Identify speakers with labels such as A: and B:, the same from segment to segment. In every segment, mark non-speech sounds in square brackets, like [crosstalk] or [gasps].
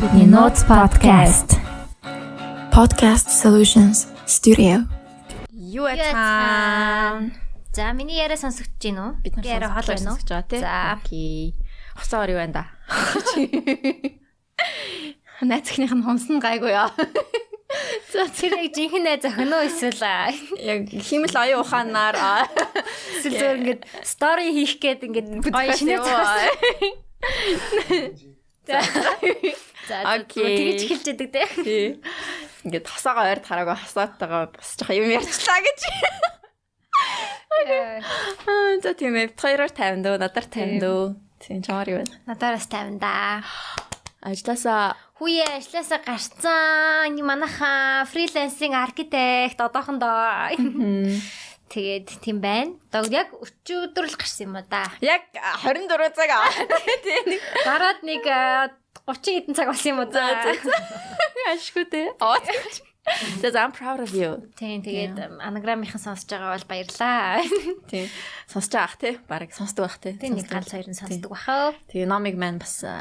A: бидний Notes podcast.
B: Podcast Solutions Studio.
C: Юу яцхан?
A: Яцхан. За миний яриа сонсогдож байна уу?
C: Бид нар
A: яриа хоол байна уу?
C: сонсож байгаа тий.
A: За.
C: Окей. Хосоор юу [laughs] байна да?
B: Найцхных нь хумсан гайгүй яа.
A: Тэр яг жинхэнэ зохино уу эсвэл аа,
C: Яг химэл оюун ухаанаар аа,
A: эсвэл зөв ингээд стори хийх гээд ингээд гоё
C: подкаст
A: шинэ
C: юу
A: зохио.
C: аа.
A: За за,
C: Окей.
A: тэгж эхэлж яддаг те. [laughs]
C: Тий. Ингээд хосоогоо ойр тараагүй хосоотойгоо бас жоох юм ярьчлаа гэж.
A: Э,
C: Аа, За тийм ээ. Хоёроор 50 дөө, надаар 50 дөө. Тийм чамаар юу байна?
A: Надаараас 50 да.
C: Ажлаасаа
A: Хүүе ажлаасаа гарцсан. Манайхаа фрилансинг архитект одоохондоо. Тэгээд тийм байна. Дог яг өчигдөр л гарсан юм а да.
C: яг 24 цаг [laughs] аа. Тийм.
A: Гараад нэг аа, 30 хэдэн цаг болсон юм уу
C: За,
A: да.
C: [laughs] Ашгүй тий. Оо. За, за, I'm proud of you.
A: Тийм тэгээд ам, анаграмынхан сонсож байгаа бол баярлаа.
C: Тийм. Сонсож байгаах тий. Бараг сонсдог байх тий.
A: Тийм нэг
C: Сонсдог.
A: ганц хоёр нь сонсдог бахаа.
C: Тэгээ номыг маань бас э,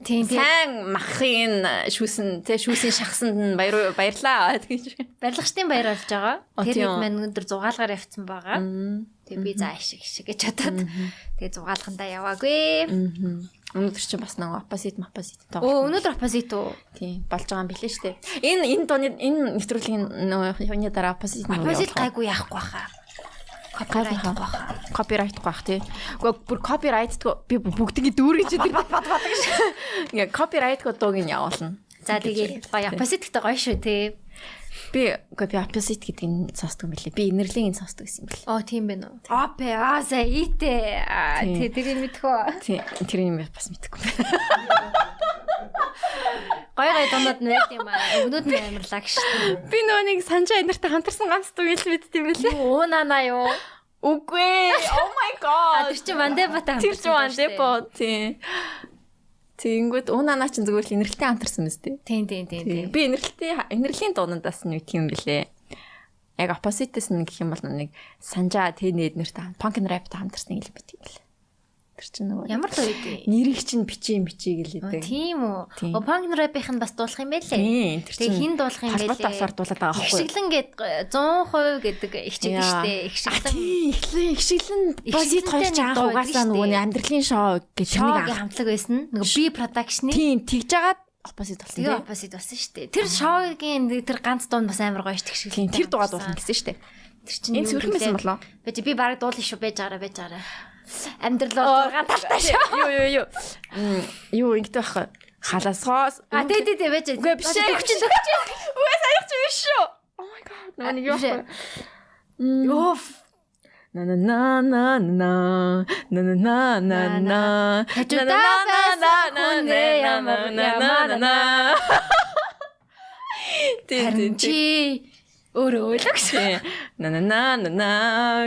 A: Тийм тийм.
C: сайн махын э, шүүсэн тий шүүсэн шахсанд нь баяр баярлаа тэгж.
A: Барилгачдын баяр болж байгаа.
C: А,
A: Тэр
C: тийм
A: хэд
C: үү?
A: мань өндөр 6-аар явцсан байгаа.
C: Мм.
A: Тэгээ би заа ашиг ашиг гэж бодоод тэгээ 6-аалгандаа яваагүй.
C: Өнөөдөр чинь бас нэг оппозит маппозит таа.
A: Оо өнөөдөр оппозит уу?
C: Тий болж байгаа юм билээ штэ. Энэ энэ дооны энэ нэвтрүүлгийн нөө юуны дараа оппозит нөө
A: Оппозит
C: явуулах.
A: гайгүй яахгүй хаа.
C: Гайгүй
A: Копирайт
C: хаа.
A: байхгүй хаа.
C: копирайт гох тий. Гэхдээ бүр копирайт би бүгдгийн дүүрэн чи тэр бат бат бат гэж. Ингээ копирайт годог ин явуулна.
A: За тэгээ гоё оппозит гэдэг гоё шүү тий.
C: Би копи оппозит гэдэг нь сонсдог юм билээ. Би инэрлийн энэ сонсдог гэсэн юм билээ.
A: Оо тийм байна уу? Оппоза ите.
C: Тийм.
A: Тэ тэрийг мэдхөө.
C: Тий тэр юм бас мэдэхгүй байна.
A: Гоё гоё дуунууд нь байт юм аа. Өгнүүд нь амарлаа гэж.
C: [laughs] Би нөгөө нэг санжаа энэртэй хамтарсан ганц дүгэл мэдт юм билээ.
A: Оо нанаа юу?
C: Үгүй ээ. Oh my
A: А
C: god.
A: тэр чин Вандепата.
C: [laughs] Тэр ч вандепо тий. Тэнгүүд уунана ч зүгээр л инэрлэлтэй хамтарсан мэт тий.
A: Тин тин тин тин.
C: Би инэрлэлтэй инэрлийн дуунаас нь үт юм билээ. Яг оппозитээс нь гэх юм бол нэг санжаа тий нэд нэртэй хамт панк рэптэй хамтарсан юм бит юм билээ. Тэр чинь нөгөө
A: Ямар л үед
C: нэрийг чинь бичиж бичиж гэлээдэг.
A: Тийм үү.
C: Тийм.
A: Опанк рэпийнх нь бас дуулах юм байлээ.
C: Тийм, тэр
A: Тэгээ
C: чинь
A: хин дуулах юм байлээ.
C: Холбоотой авсаар дуулаад байгаа байхгүй.
A: Ихшиглэн гээд 100% гэдэг ихчиг
C: Яа.
A: штэ.
C: А,
A: Ихшиглэн
C: тий, Ихлэн ихшиглэн босит хоёр ч
A: нэг
C: анх
A: дуу
C: угаасаа
A: гэдэг шүү дээ.
C: нөгөө нэг амьдралын шоу гэж нэг
A: шоугийн
C: анх.
A: хамтлаг байсан. Нэг би продакшны.
C: Тийм тэгж агаад оппозит болсон
A: Тэгээ
C: тийм.
A: оппозит болсон штэ. Тэр шоугийн нэг- тэр ганц дуун бас амар гоё штэ. Ихшиглэн.
C: Тийм тэр дугаад болно гэсэн штеп.
A: Тэр чинь юу
C: Энэ цөөрхөн байсан
A: гэлээ?
C: болоо.
A: Бэж би баг дуулах шүү байж байгаараа байж байгаараа. Амьдрал ургаан талтай шүү.
C: Юу юу юу. М, Юу ингэдэг байх. Халасгоос.
A: А тий тий тий байж.
C: Үгүй биш ээ.
A: Хүчин
C: Үгүй саяч биш шүү. Oh my god. Нөгөө нэг юу
A: Биш ээ.
C: вэ? Йоф. На на на на на на на на на на
A: Хажуудаа байсан хүнээ ямар- ямар-
C: [laughs] Харин
A: Харин чи өөрөө ойлгош.
C: на на на на на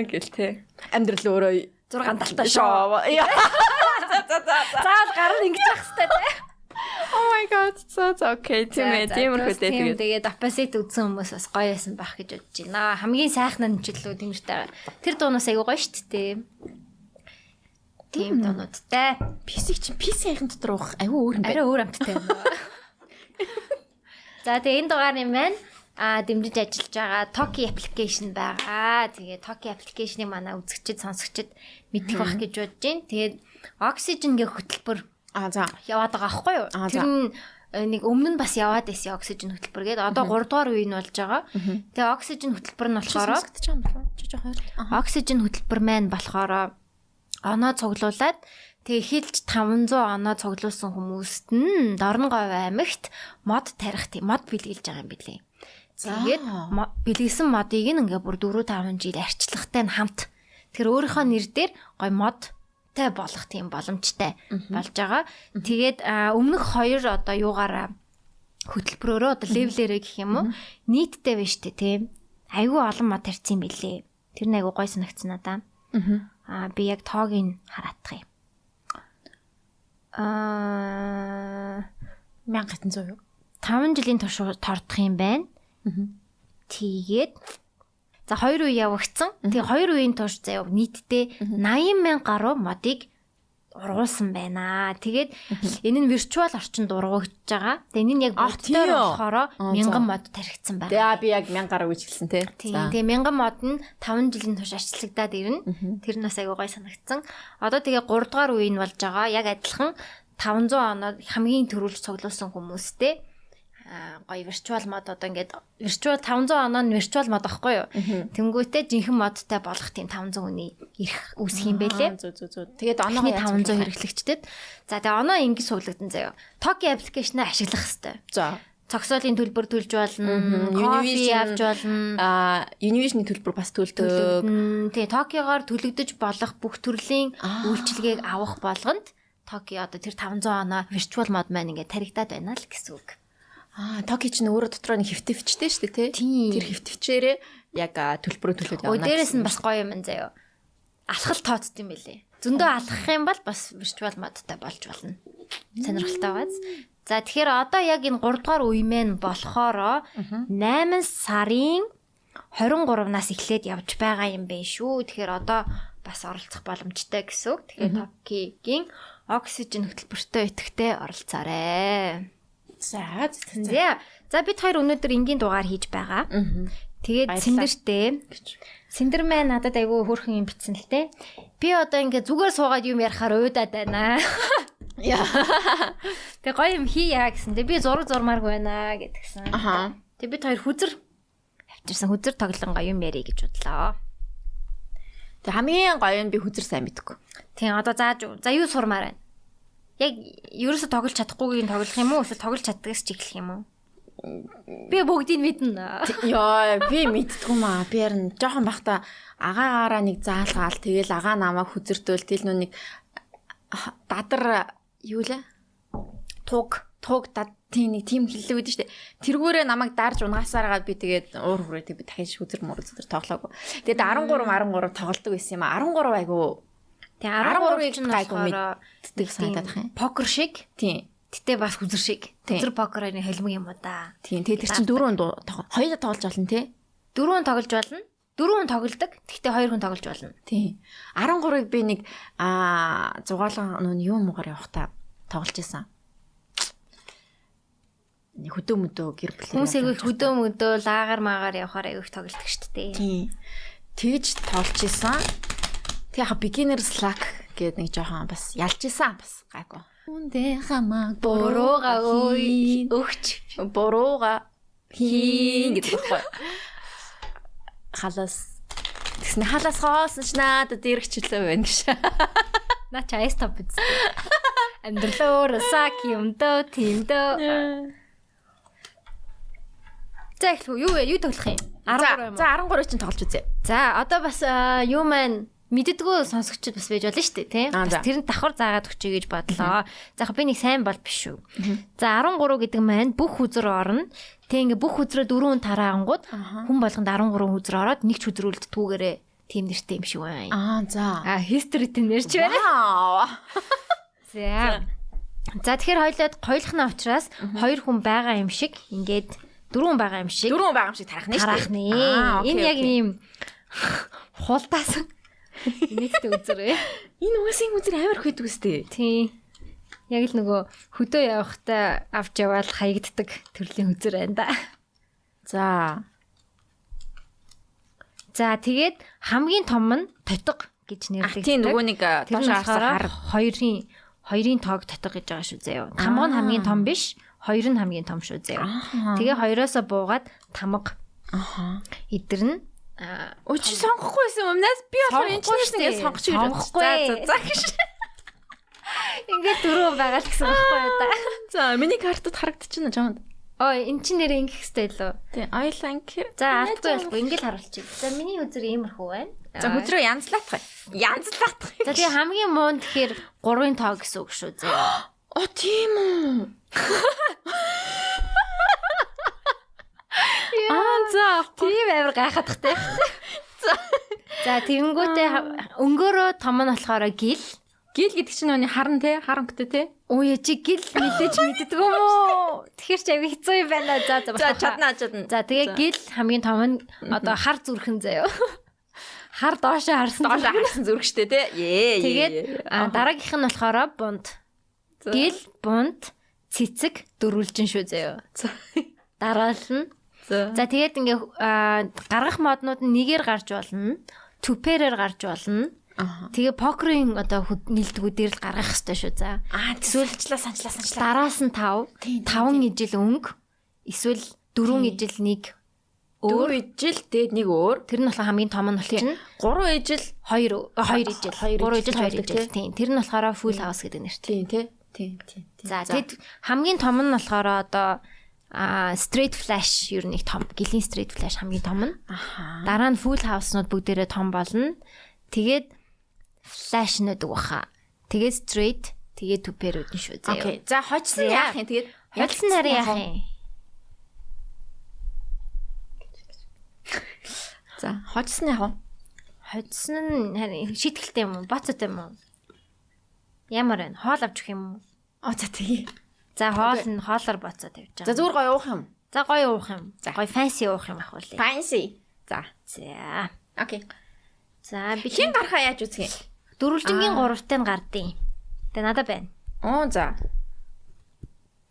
C: гэлтэй амьдрал өөрөө
A: Зургаан талтай шоу.
C: шоо. Яа. [laughs] За за за за.
A: Заавал гар нь ингэж явах хэрэгтэй те.
C: Oh my god. За за окей. Тийм ээ. Тиймэрхүү дээ тэгээд.
A: Тэгээд оппозит үзсэн хүмүүс бас гоё байсан байх гэж бодож байна. Хамгийн сайхан нь ч лөө тэмэртэй. Тэр дуунаас аягүй гоё штт те. Тийм дуунуудтай.
C: Писиг чи писийн дотор уух айгүй өөр юм байна.
A: Арай өөр амттай юм байна.
C: [laughs]
A: За тэгээ энэ дугаар юм байна. А дэмжиж ажиллаж байгаа Toki application байгаа. Тэгээ Toki application-ыг манай үзэгчд сонсогчд мэдэх байх гэж бодож байна. Тэгээд Oxygen-гийн хөтөлбөр
C: А за.
A: яваад байгаа аахгүй юу?
C: Аа, за.
A: Тэр нь э, нэг өмнө нь бас яваад байсан оксижен хөтөлбөргээд одоо 3 дугаар үе нь болж байгаа. Тэгээ оксижен хөтөлбөр нь болохоор
C: Сонсогдож байгаа юм болов уу? Чи жоохон хоёр.
A: оксижен хөтөлбөр маань болохоор оноо цуглуулад тэгээ эхэлж 500 оноо цуглуулсан хүмүүст нь Дорногов аймагт мод тарих тийм мод бэлгэлж байгаа юм билий. Тэгээд
C: Аа.
A: мо- бэлгэлсэн модыг нь ингээ бүр 4 5 жил арчлагтай нь хамт тэр өөрийнхөө нэр дээр гой мод тай болох тийм боломжтой болж байгаа. Тэгээд а, өмнөх хоёр одоо юугаараа хөтөлбөрөөрөө одоо левлэрээ гэх юм уу нийтдээ биш тээ тийм айгүй олон мод тарьсан юм билээ. Тэр нь айгүй гой санагдсан надаа. Аа би яг тоог нь хараадах юм. Аа
C: 1700 юу?
A: 5 жилийн турш тордох юм байна. Тэгээд за 2 үе явагдсан. Тэгээ 2 үеийн турш заяа нийтдээ 80 мянга гаруй модыг ургуулсан байна. Тэгээд энэ нь виртуал орчинд ургуулж байгаа. Тэгээд энэ нь яг
C: Ах, тийм
A: бодтоор
C: үү?
A: болохоор
C: Аа,
A: 1000
C: за.
A: мод тархигдсан байна.
C: Тэгээ би яг 1000 гаруй үжилсэн тий.
A: Тийм. Тэгээ 1000 мод нь 5 жилийн турш арчлагдаад ирнэ. Тэр нь бас аягүй гой санагдсан. Одоо тэгээ 3 дугаар үе нь болж байгаа. Яг адилхан 500 оноод хамгийн төрүүлж цуглуулсан хүмүүстэй аа гоё виртуал мод одоо ингээд виртуал 500 оноо нь виртуал мод аахгүй юу? Тэнгүүтээ жинхэнэ модтай болох тийм 500 хүний ирэх үүсэх юм бэлээ.
C: Зүү зүү зүү. Тэгээд
A: Оноогоо
C: оноогоо
A: 500 хэрэглэгчдэд. За тэгээ оноо ингэж суулгадан заяа. Токи аппликейшнээ ашиглах хэвээр.
C: За.
A: Цогцоолын төлбөр төлж болно, кофе
C: Univision-
A: авч болно.
C: А Univision-ийн төлбөр бас төлдөг.
A: төлөв. Тэгээ Токиогоор төлөгдөж болох бүх төрлийн
C: Аа.
A: үйлчилгээг авах болгонд Токио одоо тэр 500 оноо virtual mode маань ингээд таригдаад байна л гэсэн үг.
C: Аа, Токи ч нөөрэө дотроо нэг хөвтөвчтэй шүү дээ, тий.
A: Тийм.
C: Тэр хөвтөвчээрээ яг аа, төлбөрөө төлөд
A: Өө
C: явна.
A: дээрэс нь бас гоё юм байна заяо. Алхал тооцд юм бэлээ. Зөндөө алхах юм бол бас virtual mode-тай болж болно. Сонирхолтой байгааз. За тэгэхээр одоо яг энэ 3 дугаар үе мэн болохоро 8 сарын 23-наас эхлээд явж байгаа юм байна шүү. Тэгэхээр одоо бас оролцох боломжтой гэсэн үг. Тэгэхээр Токигийн Oxygen хөтөлбөртэй идэвхтэй оролцоорой.
C: За, зэ-
A: За. За бид хоёр өнөөдөр энгийн дугаар хийж байгаа. Тэгээд
C: Баярлалаа.
A: Синдертэй Синдер маань надад айгүй хөөрхөн юм битсэн л те. Би одоо ингээ зүгээр суугаад юм ярихаар уудаад
C: [laughs]
A: байна. Тэг гоё юм хийя гэсэн. Тэг би зураг зурмааргүй байна гэдгсэн.
C: Аха.
A: Тэг бид хоёр хүзэр авчирсан хүзэр тоглон гоё юм ярий гэж бодлоо.
C: Тэг хамгийн гоё нь би хүзэр сайн мэдгүй.
A: Тийм одоо зааж за юу сурмаар байна. Яг ерөөсө тоглож чадахгүйг нь тоглох юм уу эсвэл тоглож чаддагс ч эхлэх юм уу? Би бүгдийг мэднэ.
C: Йоо, би мэдтгүй маа. Би яар нь жоохон бахта агаагаараа нэг заалгаал тэгэл агаа намайг хүзэртөөл тэл нүг дадар юу лээ? Туг, туг дад тийм нэг тийм хэллэг үүдэн штэ. Тэргүүрээ намайг дарж унагаасаараад би тэгээд уур хүрээ тэг би дахин хүзэр мөр зүтер тоглоагүй. Тэгээд 13 13 тоглолдог байсан юм аа. 13 айгу.
A: Тэг
C: 13-ыг
A: 13-ыг ч
C: гайгүй
A: болохоор
C: мэддэг санагдах юм.
A: Покер шиг
C: Тийм.
A: Тэгтээ бас хүзэр шиг.
C: Тийм.
A: Хүзэр покерын холимог юм уу да.
C: Тийм. Тэгээд тэр чинь дөрөв тоглоо. Хоёулаа тоглож олно тий.
A: Дөрвөн тоглож болно. Дөрвөн тоглодог. Тэгтээ хоёр хүн тоглож болно.
C: Тийм. 13-ыг би нэг аа зугаалган нүн юу муугаар явах та тоглож исэн. Нэг хөдөө мөдөө гэр бүл.
A: Хүмүүс эгөө хөдөө мөдөө лаагаар маагаар явахаар эгөө тоглодог шүү дээ.
C: Тийм. Тэгж тоглож исэн. Тэг яха beginner slack гэдэг нэг жоохон бас ялж исэн бас гайгүй. Үндэ хамаг
A: Бурууга өө өгч.
C: бурууга хийн гэдэг байхгүй. Халаас тэгснэ халаас хоосон ч надад эргчлээ байна гэж.
A: Наа чи айс топ
C: [laughs]
A: биз. Амдэрлөөр сак юмдөө тэмдөө. За их юу вэ? Юу тоглох юм? 13 юм
C: За
A: уу?
C: 13 чинь тоглож үзье.
A: За одоо бас аа, юу маань мэддгүү сонсогчд бас байж болно шүү дээ тий.
C: Аа,
A: Бас
C: за.
A: тэрэнд давхар заагаад өгчэй гэж бодлоо. За яг би нэг сайн бол биш шүү. За 13 гэдэг маань бүх үзэр орно. Тэг ингээ бүх үзрээ дөрөв тараангууд хүн болгонд 13 үзэр ороод нэг ч үзрүүлд түүгээрээ тийм нэртэй юм шиг байна.
C: Аа за.
A: А history тийм нэрч байна.
C: Вау.
A: За. За тэгэхээр хоёлаад гоёлхна учраас хоёр хүн байгаа юм шиг ингээд дөрвөн байгаа юм шиг
C: Дөрөв байгаа юм шиг тарах нь
A: тарах нэ.
C: Аа, окей,
A: Энэ яг
C: окей.
A: ийм хултаасан нэгтэй үзэрээ.
C: Энэ үсийн үзэр амар хөт үстэй.
A: Тий. Яг л нөгөө хөдөө явахтаа авч яваал хаягддаг төрлийн үзэр байна да.
C: За.
A: За тэгээд хамгийн том нь тотго гэж
C: Ах
A: нэрлэгддэг.
C: тийм нөгөө нэг э,
A: Тэр
C: доош
A: нь
C: харсаар
A: болохоор хоёрын хоёрын тоог тотго гэж байгаа шүү заяа. Тамга нь хамгийн том биш, хоёр нь хамгийн том шүү заяа. Тэгээ хоёроосоо буугаад тамга
C: Аха.
A: идэрнэ. Аа
C: Өч сонгохгүй байсан юм. Нас би болохоор энэ ч
A: Сонгохгүй
C: юм
A: штэ.
C: шиг сонгоч ирэх.
A: Сонгохгүй.
C: За за гэж.
A: ингээд дөрөв байгаа л гэсэн байхгүй юу та.
C: За миний картад харагдчихна чамд.
A: Ой, эн чинь нэрээ ингэх хэвээр лөө.
C: Тий, I like you.
A: За, алдгүй болохгүй ингээд харуулчих. За, миний үзэр иймэрхүү байна.
C: За хөдрөө янзлаатах. Янзлаатах.
A: За, тэгээ хамгийн муу нь тэгэхээр 3-ын тоо гэсэн үг шүү [gasps] зөө.
C: О тийм үү. Аа за.
A: Тийм амар гайхадах те. [laughs] За, тэгэнгүүтээ ха- өнгөөрөө том нь болохоор гил.
C: Гэл гэдэг чинь нөөний харан те, харанхтай те.
A: Ой, чи гил нэлээч мэддэг юм уу? Тэгэхэр ч ави хэцүү юм байна. За, за.
C: За чадна чадна.
A: [laughs] За, тэгээ гил хамгийн том нь одоо хар зүрхэн заяа. хар доошоо харсан.
C: Доошоо харсан зүрхштэй те. Ее.
A: Тэгээд а, дараагийнх нь болохоро бунд. Гэл бунд цэцэг дөрвөлжин шүү заяа. Дараална. За тэгээд ингээ а, гаргах моднууд нь нэгээр гарч болно. Түпэрээр гарч болно.
C: Аа.
A: Тэгээ покерын одоо хөт- нэлтгүүдээр л гаргах хэрэгтэй шүү за.
C: Аа тэсүүлчлээ санчлаа санчлаа.
A: Дараас нь 5,
C: Тийм, тийм,
A: 5 ижил өнгө, эсвэл 4 ижил нэг
C: Дөрөв
A: өөр.
C: ижил дээд нэг өөр.
A: Тэр нь болохоор хамгийн том нь болчихно.
C: Гурван ижил
A: 2 2 ижил, 3
C: Хоёр
A: ижил, 2
C: ижил байдаг,
A: ижил. Тийм. Тэр нь болохоор full house гэдэг нэртэй.
C: тийм те. Тийм тийм.
A: За тэгэд хамгийн том нь болохоор одоо а straight flash ер нь их том. Глийн straight flash хамгийн том нь.
C: Аха.
A: Дараа нь full house-нууд бүгдээрээ том болно. Тэгээд flash-нууд баха. Тэгээд straight, тэгээд two-pair-ууд нь шүү заяа.
C: Окей. За хожсон
A: Заяа.
C: яах юм? Тэгээд
A: Ялсан нараа яах юм?
C: За хожсон яах вэ?
A: Хоцсон нь харин шийтгэлтэй юм уу? Бацаатай юм уу? Ямар байна? Хоол авч өгөх юм уу?
C: Оо за тэгье.
A: За хоол нь хоолоор бацаа тавьж
C: За
A: байгаа.
C: зүгээр гоё уух юм.
A: За гоё уух юм.
C: За.
A: Гоё фэнси уух юм ах үлээ.
C: Fancy. За.
A: За.
C: Окей.
A: За би
C: Хин гарахаа яаж үзэх юм?
A: дөрвөлжингийн
C: Аа.
A: гуравтай нь гардыг. Тэ надад байна.
C: Оо за.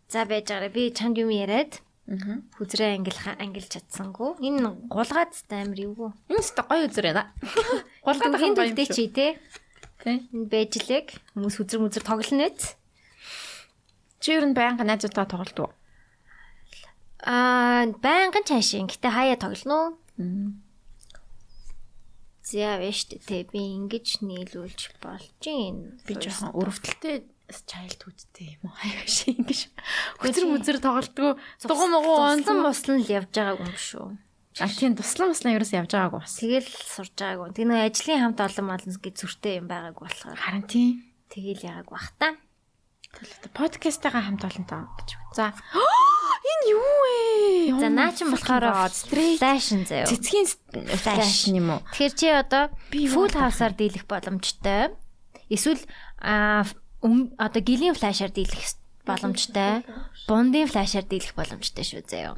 A: За байж байгаарай. Би чанд юм яриад
C: Аа.
A: хүзрээ ангил ангилж чадсангүй. Энэ гулгаад ч амар юу.
C: Энэ ч гоё үзэр [laughs] байна. Гулгаад
A: Гулгийн
C: ахын гоё юм
A: дүлдээ
C: шүү.
A: чи те.
C: Тий.
A: Энд байж лэг. Хүмүүс хүзэр мүзэр тоглоно биз?
C: Чи юу н байнга найзуудаа тоглолт уу?
A: Аа, байнгын чаашин. Гэтэ хаяа тоглоно уу? Зя вэшт те би ингэж нийлүүлж болж юм.
C: Би жоохон өрөвдөлтэй child үзтэй юм уу? [laughs] Аяа ши ингэж. Хүзэр мүзэр тоглолтгүй дугуй мугуу
A: онцон
C: онцон.
A: муслан л явж байгааг юм шүү.
C: А тийм туслан туслан ерөөс явж байгаагүй бас.
A: Тэгэл сурж байгааг. Тэг нэг ажлын хамт олон малнс гэж зүртэй юм байгааг болохоор
C: Харин тийм.
A: тэгэл ягааг бах та.
C: Подкастаа хамт олонтой гэж. За. [gasps] Энэ юу вэ?
A: За наа чинь болохоор
C: стрейт
A: fashion заяа.
C: цэцгийн фэшн юм уу?
A: Тэгэхээр чи одоо
C: Би юу
A: full house-аар дийлэх боломжтой. Эсвэл аа, өм- одоо гилийн flash-аар дийлэх боломжтой. Бундын flash-аар дийлэх боломжтой шүү заяа.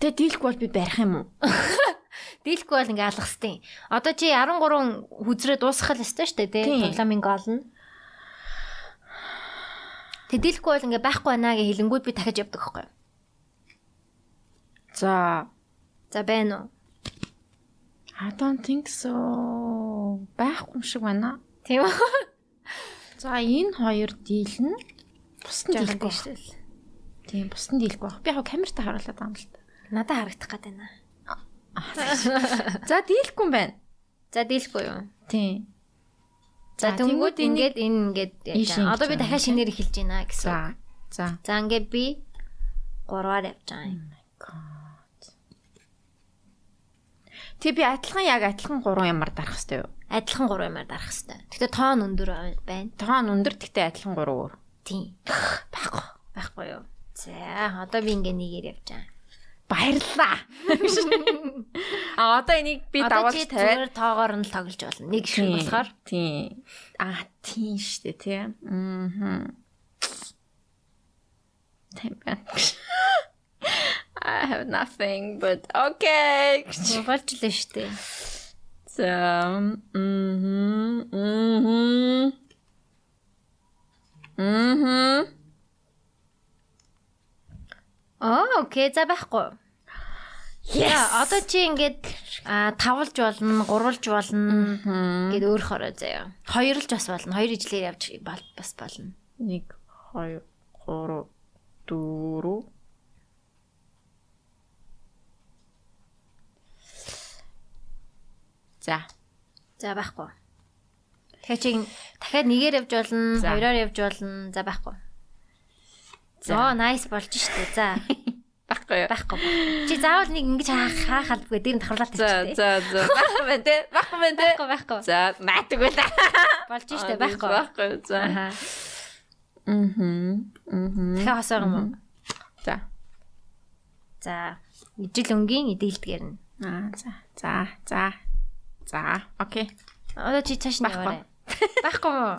C: Тэгээ дийлэхгүй бол би барих юм уу?
A: Дийлэхгүй бол ингээ алгах хэвтий. Одоо чи 13 хүзрээ дуусгах л ёстой шүү дээ,
C: Тийм.
A: тий. Тоглоомын гол нь. Тэг дийлэхгүй бол ингээ байхгүй байна гэж хэлэнгүүд би дахиж явдаг байхгүй. юу?
C: За.
A: За байна уу?
C: I don't think so. Байхгүй юм шиг байна.
A: Тийм үү?
C: За энэ хоёр дийлнэ. Бус нь дийлэхгүй. байх.
A: шүү дээ.
C: Тийм, бус нь дийлэхгүй байх. Би яг камертаа харуулад байгаа юм л та.
A: Надад харагдах гээд байна.
C: За дийлэхгүй юм байна.
A: За дийлэхгүй юу?
C: Тийм.
A: За
C: За,
A: тэнгууд
C: тэнгүүд
A: ингээд энэ ингээд
C: Ийш
A: яаж байгаа.
C: ингэж
A: одоо би
C: байна,
A: дахиад шинээр эхэлж байна гэсэн.
C: За. За.
A: За ингээд би 3-аар явж байгаа юм.
C: Тэг би адилхан яг адилхан 3 ямар дарах хэвтэй юу?
A: Адилхан 3 юмар дарах хэвээр. Гэтэ тоон өндөр байна.
C: Тоон өндөр гэхдээ адилхан 3 өөр.
A: Тийм. Байхгүй. Байхгүй юу? За одоо би ингээд нэгээр явж байгаа.
C: Баярлаа. А одоо энийг би
A: Одоо
C: даваалж
A: чи
C: тавиад
A: зүгээр тоогоор нь л тоглож болно. Нэг шиг
C: Тийм,
A: болохоор
C: тийм. А тийм шүү дээ, тий. Аа. Тийм байна. [laughs] I have nothing but okay.
A: болж лээ шүү дээ.
C: So, мм. Мм. Мм.
A: Оо, окей, за байхгүй. Яа,
C: Yes.
A: одоо чи ингээд аа, тавлж болно, гурвалж болно гэд өөр хоороо заяа. Хоёрлж бас болно. Хоёр ижлээр явж бол- бас болно.
C: 1 2 3 4 За.
A: За байхгүй. Тэгэхээр чи дахиад нэгээр явж болно,
C: За.
A: хоёроор явж болно. За байхгүй.
C: За.
A: Зоо, nice болж штэ. За.
C: Баггүй юу?
A: Байхгүй. Чи заавал нэг ингэж хаах хаалбгүй дээр нь давхарлаад
C: За
A: тавьчих.
C: за [laughs] за. Баггүй байна те. Баггүй байна те.
A: Байхгүй, байхгүй.
C: За, наадаг байна.
A: Болж штэ, байхгүй.
C: Баггүй. За.
A: Аха.
C: Мм. Мм.
A: Дахиад хасаа юм уу?
C: За.
A: За, ижил өнгийн эдгэлдгээр нь.
C: Аа за. За. За. За. Окей.
A: Одоо чи цааш нь
C: Байхгүй.
A: яваарай. Байхгүй
C: [laughs]
A: мó.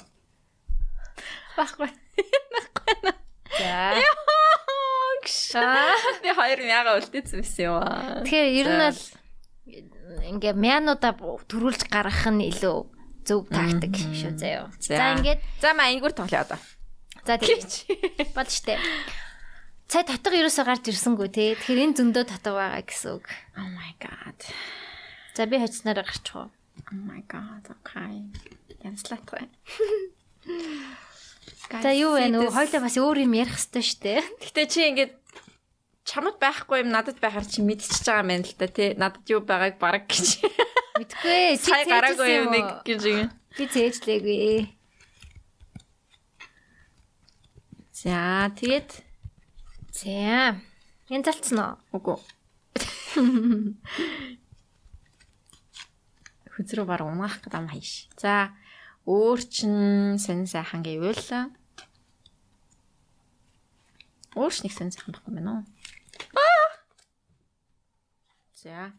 C: Баггүй.
A: За.
C: Би хоёр нь яга үлдээсэн юм байна.
A: Тэгэхээр ер нь
C: За.
A: бол ингээ мянуудаа төрүүлж гаргах нь илүү зөв тактик шүү заяо.
C: За.
A: За ингээд
C: За маа энгүүр тоглоё одоо.
A: за тэгэж бол штэ. Цай татга ерөөсө гарч ирсэнгүү те. Тэгэхээр энэ зөндөө татга байгаа гэсэн үг.
C: Oh my god.
A: За би хоцнороо гарчих уу?
C: Oh my god. Okay.
A: [laughs]
C: Янзлах бай.
A: За юу вэ нүү? Хойлоо бас өөр юм ярих хэвчтэй штэ.
C: Гэтэ чи ингээд чамд байхгүй юм надад байхаар чи мэдчихэж байгаа юм байна л да тий. Надад юу байгааг бараг гэж.
A: Мэдгүй ээ. чи
C: [laughs] Сая гараагүй
A: цээжсэн
C: юм нэг гэж юм.
A: Би цээжлээгүй.
C: За тэгээд
A: За. Энэ залцсан уу?
C: үгүй. Хүзрүү бараг унаах гэдэг юм хайш. За өөр чин сонин сайхан гэвэл Өөрш нэг сонин сайхан байхгүй мэн үү? За.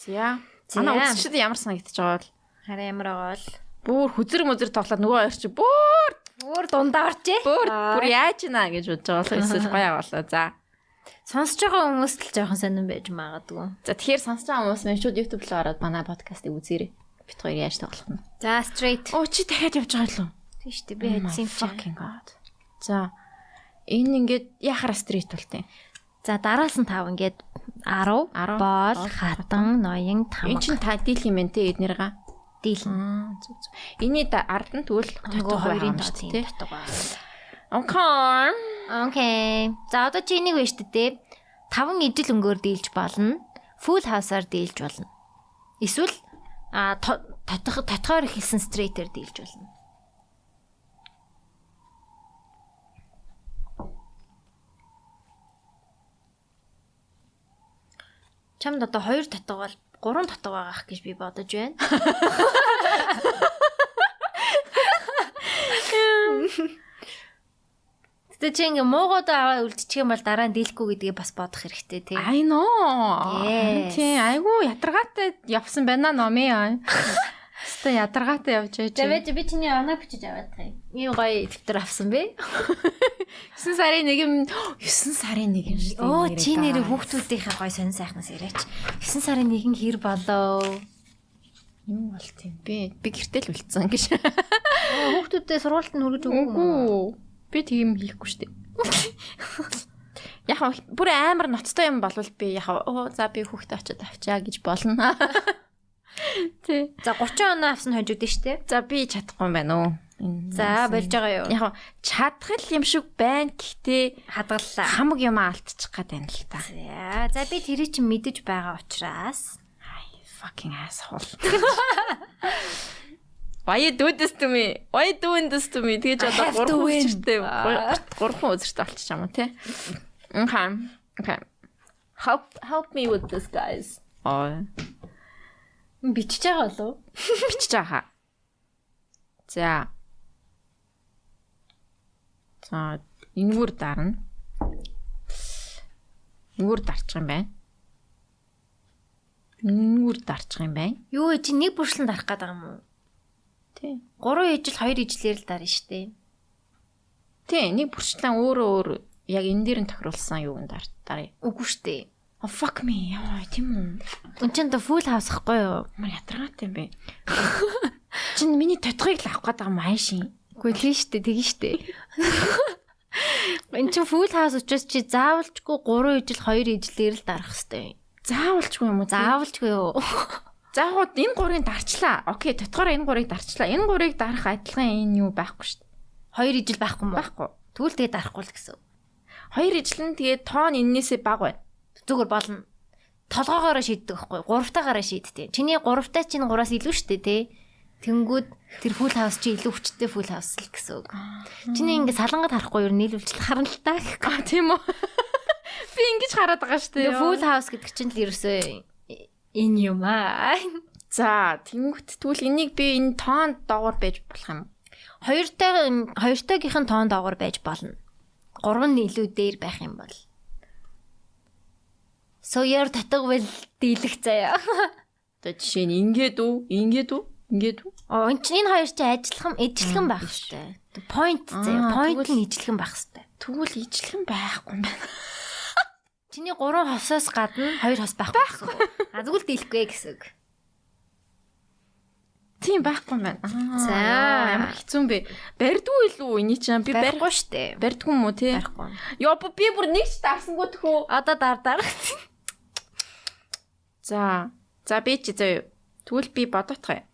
C: За.
A: За.
C: Манай үзчид ямар санагдчих байгаа бол
A: Хараа ямар байгаа л.
C: бүр хүзэр мөзөр тоглоод нөгөө хоёр чи бүр
A: Өөр дундаа орчээ.
C: бүр бүр яаж ийна гэж бодож байгаа болоо эсвэл гоё болоо. За.
A: Сонсож байгаа хүмүүст л жоохон сонирн байж магадгүй.
C: За тэгэхээр сонсож байгаа хүмүүс минь шууд YouTube руу ороод манай подкастыг үзээрэй. Бид хоёр яаж тоглох нь?
A: За straight.
C: Оо чи дахиад явж байгаа юм.
A: Тийш үү би хайцсан юм чи.
C: fucking god. За. Энэ ингээд яхаар стрит болтой.
A: За дараалсан тав ингээд 10
C: 10,
A: боол
C: боол,
A: хатан ноён
C: Энэ
A: тамга
C: чин та дийлх юм энэ эднэрга.
A: дийлэн.
C: Аа зүг зүг. Эний да- ард нь тэгвэл
A: Нөгөө
C: дотог байгаа
A: хоёрын
C: юм шүү
A: дотор
C: дээ.
A: татдаг байна.
C: Онкор.
A: Окей. За одоо чи энийг байна шүү дээ. Таван ижил өнгөөр дийлж болно. Full house-аар дийлж болно. Эсвэл а то- татах татхаар ихэлсэн straight-ээр дийлж болно. Чамд одоо хоёр татга бол гурван татга байгаах гэж би бодож байна. Гэтэ чи ингээ муугууд аваа үлдчих юм бол дараа нь дийлэхгүй гэдгийг бас бодох хэрэгтэй тий.
C: I know.
A: Yes.
C: Тий, айгу ятаргаатай явсан байна номи. Хэвээ ятаргаатай явж байж.
A: За байж би чиний оноо бичиж аваад байгаа юм. Ийм гоё дэвтэр авсан бэ?
C: 9 сарын 1 юм [gasps] 9 сарын 1 юм шүү дээ.
A: Оо чи нэрээ хүүхдүүдийнхээ гоё сонин сайхнаас яриач. 9 сарын 1-нд хэр болов?
C: юм бол тийм би би гэртэл үлдсэн гэж.
A: Хүүхдүүдээ сургуульд нь хөргөж өгөөгүй юм уу?
C: Үгүй. [laughs] Би тийм хийхгүй шүү дээ. Яг хав- бүр амар ноцтой юм болвол би яг хав, оо за би хүүхдээ очиад авчаа гэж болно. [laughs] Тий.
A: За 30 оноо авсан хожууд нь штэ.
C: За би чадахгүй юм байна уу? Энэ
A: За
C: юмсан.
A: болж байгаа юу?
C: Яг хав, чадах л юм шиг байна гэхдээ
A: Хадгаллаа.
C: хамаг юм алдчих гад байна л та.
A: За за би тэрий чи мэдэж байгаа учраас
C: Fucking asshole. [laughs] Why you do this to me? Why you doing this to me? Тэгэж
A: I
C: одоо
A: have to
C: гурван
A: win.
C: үзэртэй
A: Аа.
C: гурван үзэртэй болчих юм уу те? Okay. Okay. Help help me with this guys. Аа.
A: бичиж байгаа болов?
C: Бичиж байгаа. За. За, энэгээр дарна. Энэгээр дарчих юм байна. Энэгээр дарчих юм байна.
A: Юу вэ чи нэг бүршлэн дарах гэдэг юм уу?
C: Тий.
A: 3 ижил 2 ижилээр л дарна штэ.
C: Тий, нэг бүрчлэн өөрөө өөр яг энэ дээр нь тохирулсан юу гэн дар- дараа.
A: Үгүй штэ.
C: Oh fuck me. Яа, тийм үү.
A: Үн чин дэ фул хавсахгүй юу?
C: Ямар ятаргаатай юм [laughs] бэ? Чин миний тодгыг л авах гэдэг юм аашийн.
A: Үгүй л нь штэ тэгэн штэ. Энд чинь full house учраас чи заавалжгүй 3 ижил 2 ижилээр л дарах хэвээр.
C: Заавалчгүй юм уу? Заавал.
A: Заавалжгүй юу?
C: Заавал энэ гурыг дарчлаа. Окей, тодгоор энэ гурыг дарчлаа. Энэ гурыг дарах адилхан энэ юу байхгүй шүү дээ.
A: 2 ижил байхгүй юм уу?
C: Байхгүй.
A: Тэгвэл тэгээ дарахгүй л гэсэн.
C: Хоёр ижил нь тэгээд тоон эннээсээ бага байна.
A: Зүгээр болно. Толгоогоороо шийддэг байхгүй. Гуравтаагаараа шийддэг. Чиний гуравтаа чинь гураас илүү штэ тий. Тэнгүүд тэр full house чи илүү хүчтэй full house л гэсэн үг. Чиний ингээ салангад харахгүй юу нийлүүлж харна л та гэхгүй.
C: [laughs] А тийм үү. [laughs] Би ингэж хараад байгаа шүү дээ.
A: Тэгээ full house гэдэг чинь л ерөөсөө энэ юм аа.
C: За, тэнгүүт тэгвэл энийг би энэ тоон доогоор байж болох юм.
A: Хоёртай хоёртойгийнхэн тоон доогор байж болно. Гурав нь илүү дээр байх юм бол. Соёр татг вэл дийлэх
C: [laughs]
A: заяа.
C: Одоо жишээ нь ингээд үү, ингээд үү, ингээд үү.
A: Оо энэ чинь энэ хоёр чинь ажилхан ижилхэн байх хэвээр. Point заяа.
C: Аа,
A: Point
C: тэгвэл-
A: нь ижилхэн байх хэвээр.
C: Тэгвэл ижилхэн байхгүй юм байна.
A: Чи Чиний 3 хосоос гадна 2 хос байхгүй гэсэн. үг. А зүгэл дийлэхгүй ээ гэсэн. үг.
C: Тийм байхгүй байна. Аа,
A: За.
C: ямар хэцүү юм бэ? Барьдгүй илүү эний чинь би барь
A: Барихгүй шүү дээ.
C: барьдгүй юм уу тий?
A: Барихгүй.
C: Йоо би бүр нэг ч давсангүй төхөө.
A: Одоо дар дарах.
C: За. За би чи зөө. Тэгвэл би бодотхой.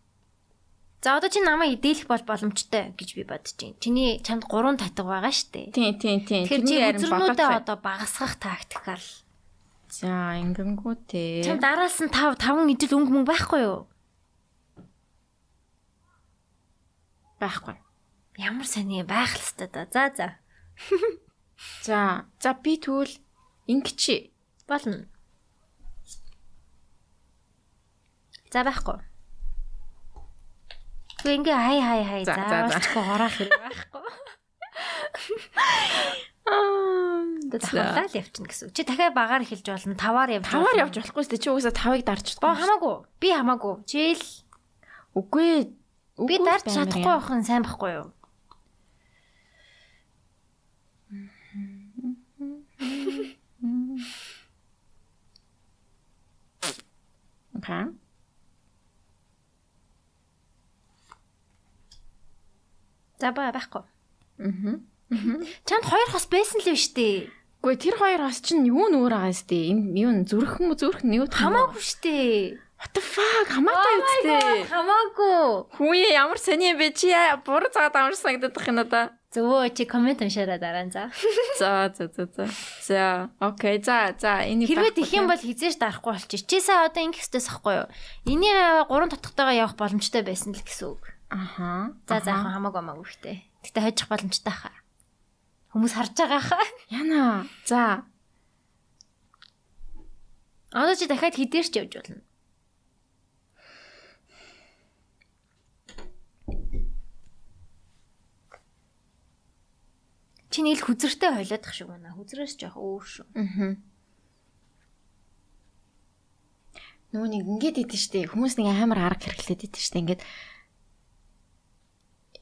A: За одоо чи намайг идэлэх бол боломжтой гэж би бодож байна. Чиний чанд 3 татга байгаа шүү дээ.
C: Тийм тийм тийм.
A: Тэгэхээр чи
C: Э, Тэрний харин
A: үзрнүүдээ
C: бодотхой.
A: одоо багасгах тактикаар.
C: За, ингэнгүүтээ.
A: Чам дараалсан 5 5 идэл өнгө мөнгө байхгүй юу?
C: байхгүй.
A: Ямар сони байх л хэвээр да. За за.
C: За. За би тэгвэл ингэчи.
A: Болно. За байхгүй. Тэг ингээ хай хай хай.
C: За, за, за.
A: Уулзахгүй хураах хэрэг
C: [laughs]
A: байхгүй. Тэг
C: За.
A: хавлаа л явчихна гэсэн. үг. Чи дахиад багаар эхэлж болно. Таваар явж.
C: Таваар явж болохгүй сте чи угаасаа тавыг дарж
A: Боо хамаагүй.
C: чадахгүй.
A: Би хамаагүй. Чи л
C: Үгүй.
A: би
C: үгүй
A: дарж
C: баймир
A: чадахгүй
C: юм.
A: байх нь сайн байхгүй юу?
C: Окей.
A: За баа байхгүй.
C: Аа.
A: Чанд хоёр хос байсан л биш үү?
C: Гүй тэр хоёр бас чинь юу нөр байгаа сте. Энэ юу н зүрх юм уу зүрх нь юу юм уу?
A: Хамаагүй Oh шүү дээ.
C: What the fuck хамаатай үсттэй.
A: Хамаагүй.
C: Хүүе ямар сони юм бэ чи яа, буруу цагаад амар санагдаад байх юм надаа.
A: Зөвөө чи комент уншаараа дараа нь за.
C: За за за за. За. Окей. За за энийг
A: Хэрвээ
C: байхгүй
A: тэх юм бол хизээж дарахгүй болчих. Чи сая одоо ингэх хэвчээс ахгүй юу? Энийг 3 татгатайгаа явах боломжтой байсан л гэсэн үг.
C: Аха.
A: За за яхан хамаагүй хамаагүй хтэй. Гэтэ хожих боломжтой хаа. Хүмүүс харж байгаа хаа.
C: Яна. За.
A: [laughs] Одоо чи дахиад хідээрч явж болно. Чиний л хүзэртэй хойлоодах шиг байна. Хүзрээс жоох өөр шүү.
C: Аха. Нүү нэг ингэж идэв штэ. Хүмүүс нэг амар арга хэрэглээд идэв штэ. Ингээд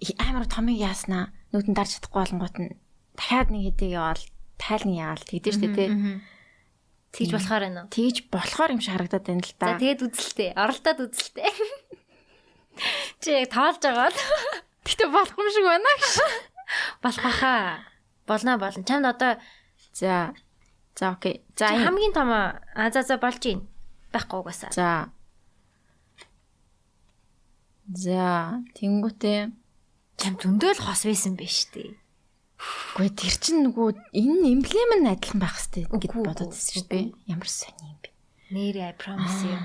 C: и- амар томыг яаснаа. Нүдэн дарж чадахгүй болонгот нь дахиад нэг хэдий яваал тайлны яаал тэгдэж штэ тий.
A: Тэгж болохоор байна уу?
C: Тэгж болохоор юм шиг харагдаад байна л
A: За
C: да.
A: тэгэд үзэлтэй. Оролдоод үзэлтэй. [laughs] Чи яг тоолж [laughs] байгаа л
C: Тэгтээ болох юм шиг байна гэж.
A: болох баха. Болно болно. Чамд одоо
C: За. За окей. За
A: чи
C: энэ-
A: хамгийн том аа за за болж ийн. Байхгүй угаасаа.
C: За. За, тэнгуүтэй.
A: Чам зөндөө л хос байсан биш үү?
C: Гүй тэр чинь нөгөө энэ эмблем нь адилхан байх хэвээр гэж
A: Үгүй,
C: бодоод
A: үгүй,
C: байсан шүү дээ. Ямар сони юм бэ?
A: Нэрээ I promise you.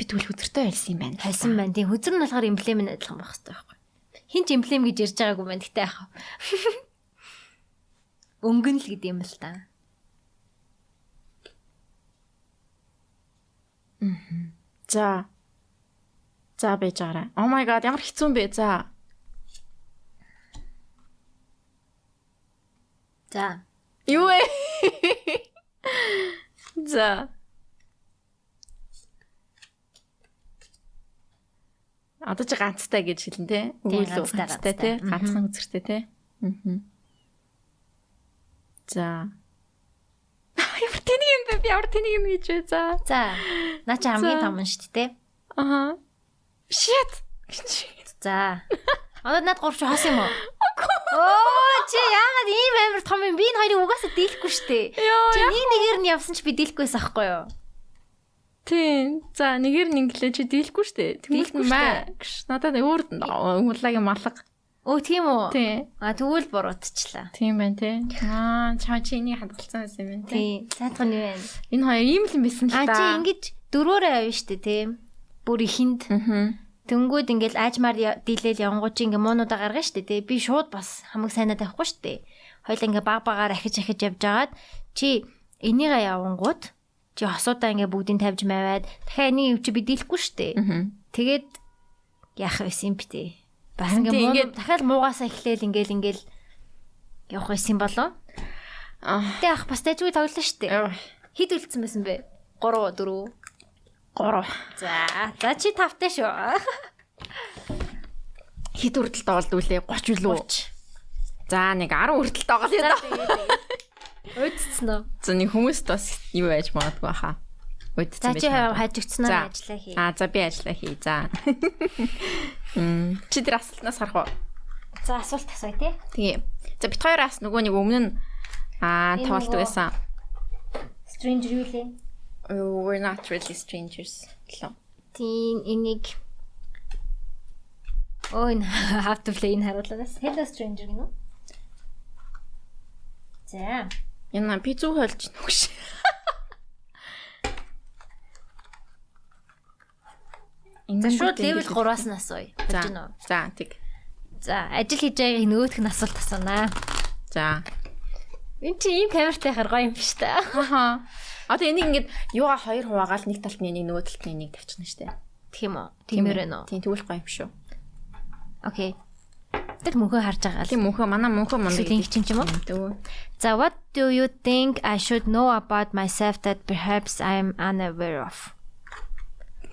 C: Би тэгвэл хөдөртэй байлсан юм байна.
A: Хайсан байна. Тийм хөзөр нь болохоор эмблем нь адилхан байх хэрэгтэй байхгүй. Хин ч эмблем гэж ярьж байгаагүй байна. Гэтэ яах [laughs] вэ? Өнгөн л гэдэм юм л та.
C: За. За байж байгаарай. Oh my god, ямар хэцүү юм бэ? За.
A: За.
C: Юу вэ? [laughs] За. Одоо чи ганцтай гэж хэлэн те. Үгүй л
A: ганцтай,
C: ганцтай те.
A: ганцтай. Мгм.
C: Ганцхан үзэртэй те. Аа. За. [laughs] Ямар тэнийг юм бэ? Би ямар тэнийг юм гэж вэ? За.
A: За. Наа чи хамгийн
C: За.
A: том нь шүү дээ. тэ?
C: Аа. Shit.
A: [laughs]
C: Чи.
A: За. Одоо над гурч хос юм уу? Оо чи яагаад ийм амар том юм? Би энэ хоёрыг угаасаа дийлэхгүй шүү дээ.
C: Йоо,
A: Чи нэг нэгээр нь явсан ч би дийлэхгүй байсан аахгүй юу?
C: Тийм. За, нэгээр нэг лээ чи дийлэхгүй штэ.
A: Дийлэхгүй
C: Тэмүүл мэ. Гш, Надад өөр уулаагийн малга.
A: Өө тийм үү?
C: Тийм.
A: А тэгвэл буруутчлаа.
C: Тийм байна те. Аа, чам чиний хадгалсан байсан юм байна
A: Тийм.
C: те.
A: Сайдхан юу вэ?
C: Энэ хоёр ийм л юм байсан л
A: А
C: та.
A: чи ингэж дөрөөрөө авна шүү дээ тийм. Бүр ихэнд.
C: Мгм.
A: Тэнгүүд ингээл аажмаар я- дийлээл явангуй чи ингээ муунуудаа гаргана штэ тий. Би шууд бас хамаг сайнаа тавихгүй штэ. Хойл ингээ баг багаар ахиж ахиж явжгаад чи энийгээ явангууд чи хосуудаа ингээ бүгдийг тавьж маваад дахиад энийг юу чи би дийлэхгүй штэ.
C: Мгм.
A: Тэгээд яах вэ юм бэ тий. Бас ингээ
C: Тий,
A: муу
C: ингээд-
A: дахиад муугасаа эхлээл ингээл ингээл явах байсан болов.
C: Аа.
A: Тэ ах бас тажгүй тоглолно штэ.
C: Яв.
A: Хид үлдсэн байсан бэ? 3 4.
C: Гурав.
A: За, за чи тавтай шүү.
C: Хэд хүртэл доолд үлээ? 30 үлээ. За, нэг 10 хүртэл доолё.
A: За, тэгээд тэгээд. Удцсан уу?
C: За нэг хүмүүст бас юу байж магадгүй хаа.
A: За
C: Удцсан
A: чи
C: За.
A: хажигдсанаар ажиллаа хий.
C: А за би ажиллаа хий.
A: [laughs]
C: За. Мм. Чи тэр асуултнаас харах уу?
A: За асуулт асууя тий.
C: Тэгээ. За бит хоёроос нөгөө нэг өмнө нь аа
A: Энэ
C: тоолдог
A: нөгөө-
C: байсан.
A: Stranger юу лээ?
C: We're not really strangers. лөө.
A: Тийм энийг Ой, н- [laughs] have to play-ийг харуулнаас. Hello Stranger гэнэ үү? За.
C: Яна би зүг холж нүгш.
A: За шууд level 3-аас нь асууя. Болж гэнэ үү?
C: За тийг.
A: За, ажил хийж байгааг нөгөөх нь асуулт асуунаа.
C: За.
A: Энд чи ийм камертай хар гоё юм биш та.
C: Аха. Одоо энийг ингээд юугаа хоёр хуваагаал нэг талд нь нэг нөгөө талд нь нэг тавьчихна штэ.
A: Тийм үү? Тиймэр байна уу?
C: Тийм тэгвэл гоё юм шүү.
A: Окей. Тэр мөнхөө харж байгаа л.
C: Тийм мөнхөө манай мөнхөө мундаг
A: Эсвэл ингэ ч юм уу?
C: Дөө.
A: За, what do you think I should know about myself that perhaps I'm unaware of?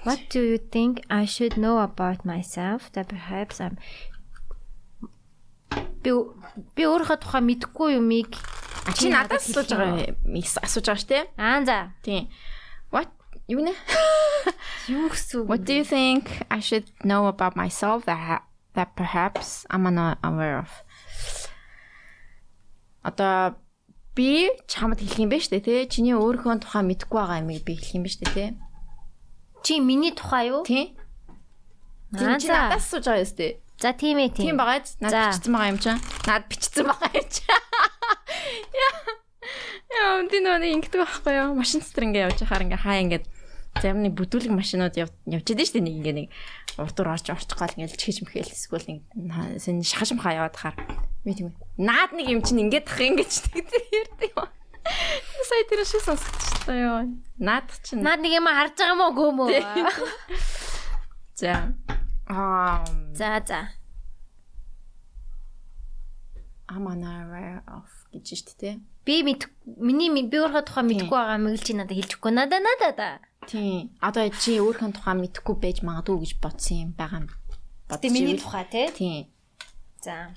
A: What do you think I should know about myself that perhaps I'm би ө- би өөрөө тухай мэдэхгүй юмыг
C: А чи надаас асууж байгаа юм асууж байгаа штэ.
A: Аа за.
C: Тийм. What юу нэ?
A: Юу гэсэн үг?
C: What do you think I should know about myself that ha- that perhaps I'm not aware of? Одоо би чамд хэлэх юм ба штэ тий. Чиний өөрийнхөө тухай мэдэхгүй байгаа юм би хэлэх юм ба штэ тий.
A: Чи миний тухай юу?
C: Тий.
A: Аа,
C: Чи
A: за.
C: надаас асууж байгаа юм штэ.
A: За тийм ээ тийм.
C: Тийм байгаа ч
A: За.
C: надад бичсэн байгаа юм чинь. Надад бичсэн байгаа юм чинь. Яа, энэ нөө ингэдэг байхгүй юу? Машин дотор ингэ явж байхаар ингэ хаа ингэ зарим нэг бүдүүлэг машинууд яв- явж идэв шүү дээ нэг ингэ нэг урд ур орж орчихгоо л ингэ л чихэж мхэл эсвэл нэг на- сэн шахаж мхаа яваад хаар би тийм ээ. Наад нэг юм чинь ингэ тах ингэж тэгдэг ярьдаг юм. Сая тэр шиг сонсогдчихсан ёо. Наад чинь
A: Наад нэг юм харж байгаа мó гөөмөө.
C: за аа
A: За за.
C: аманаа оф гэж шүү дээ. тэ.
A: Би мэд миний мэд- би өөрөө тухай мэдэхгүй байгаа мэл чи надад хэлчихгүй. Надаа надаа да.
C: Тийм. Одоо чи өөрхөн тухай мэдэхгүй байж магадгүй гэж бодсон юм байгаа юм.
A: Тэ миний тухай тий.
C: Тийм.
A: За.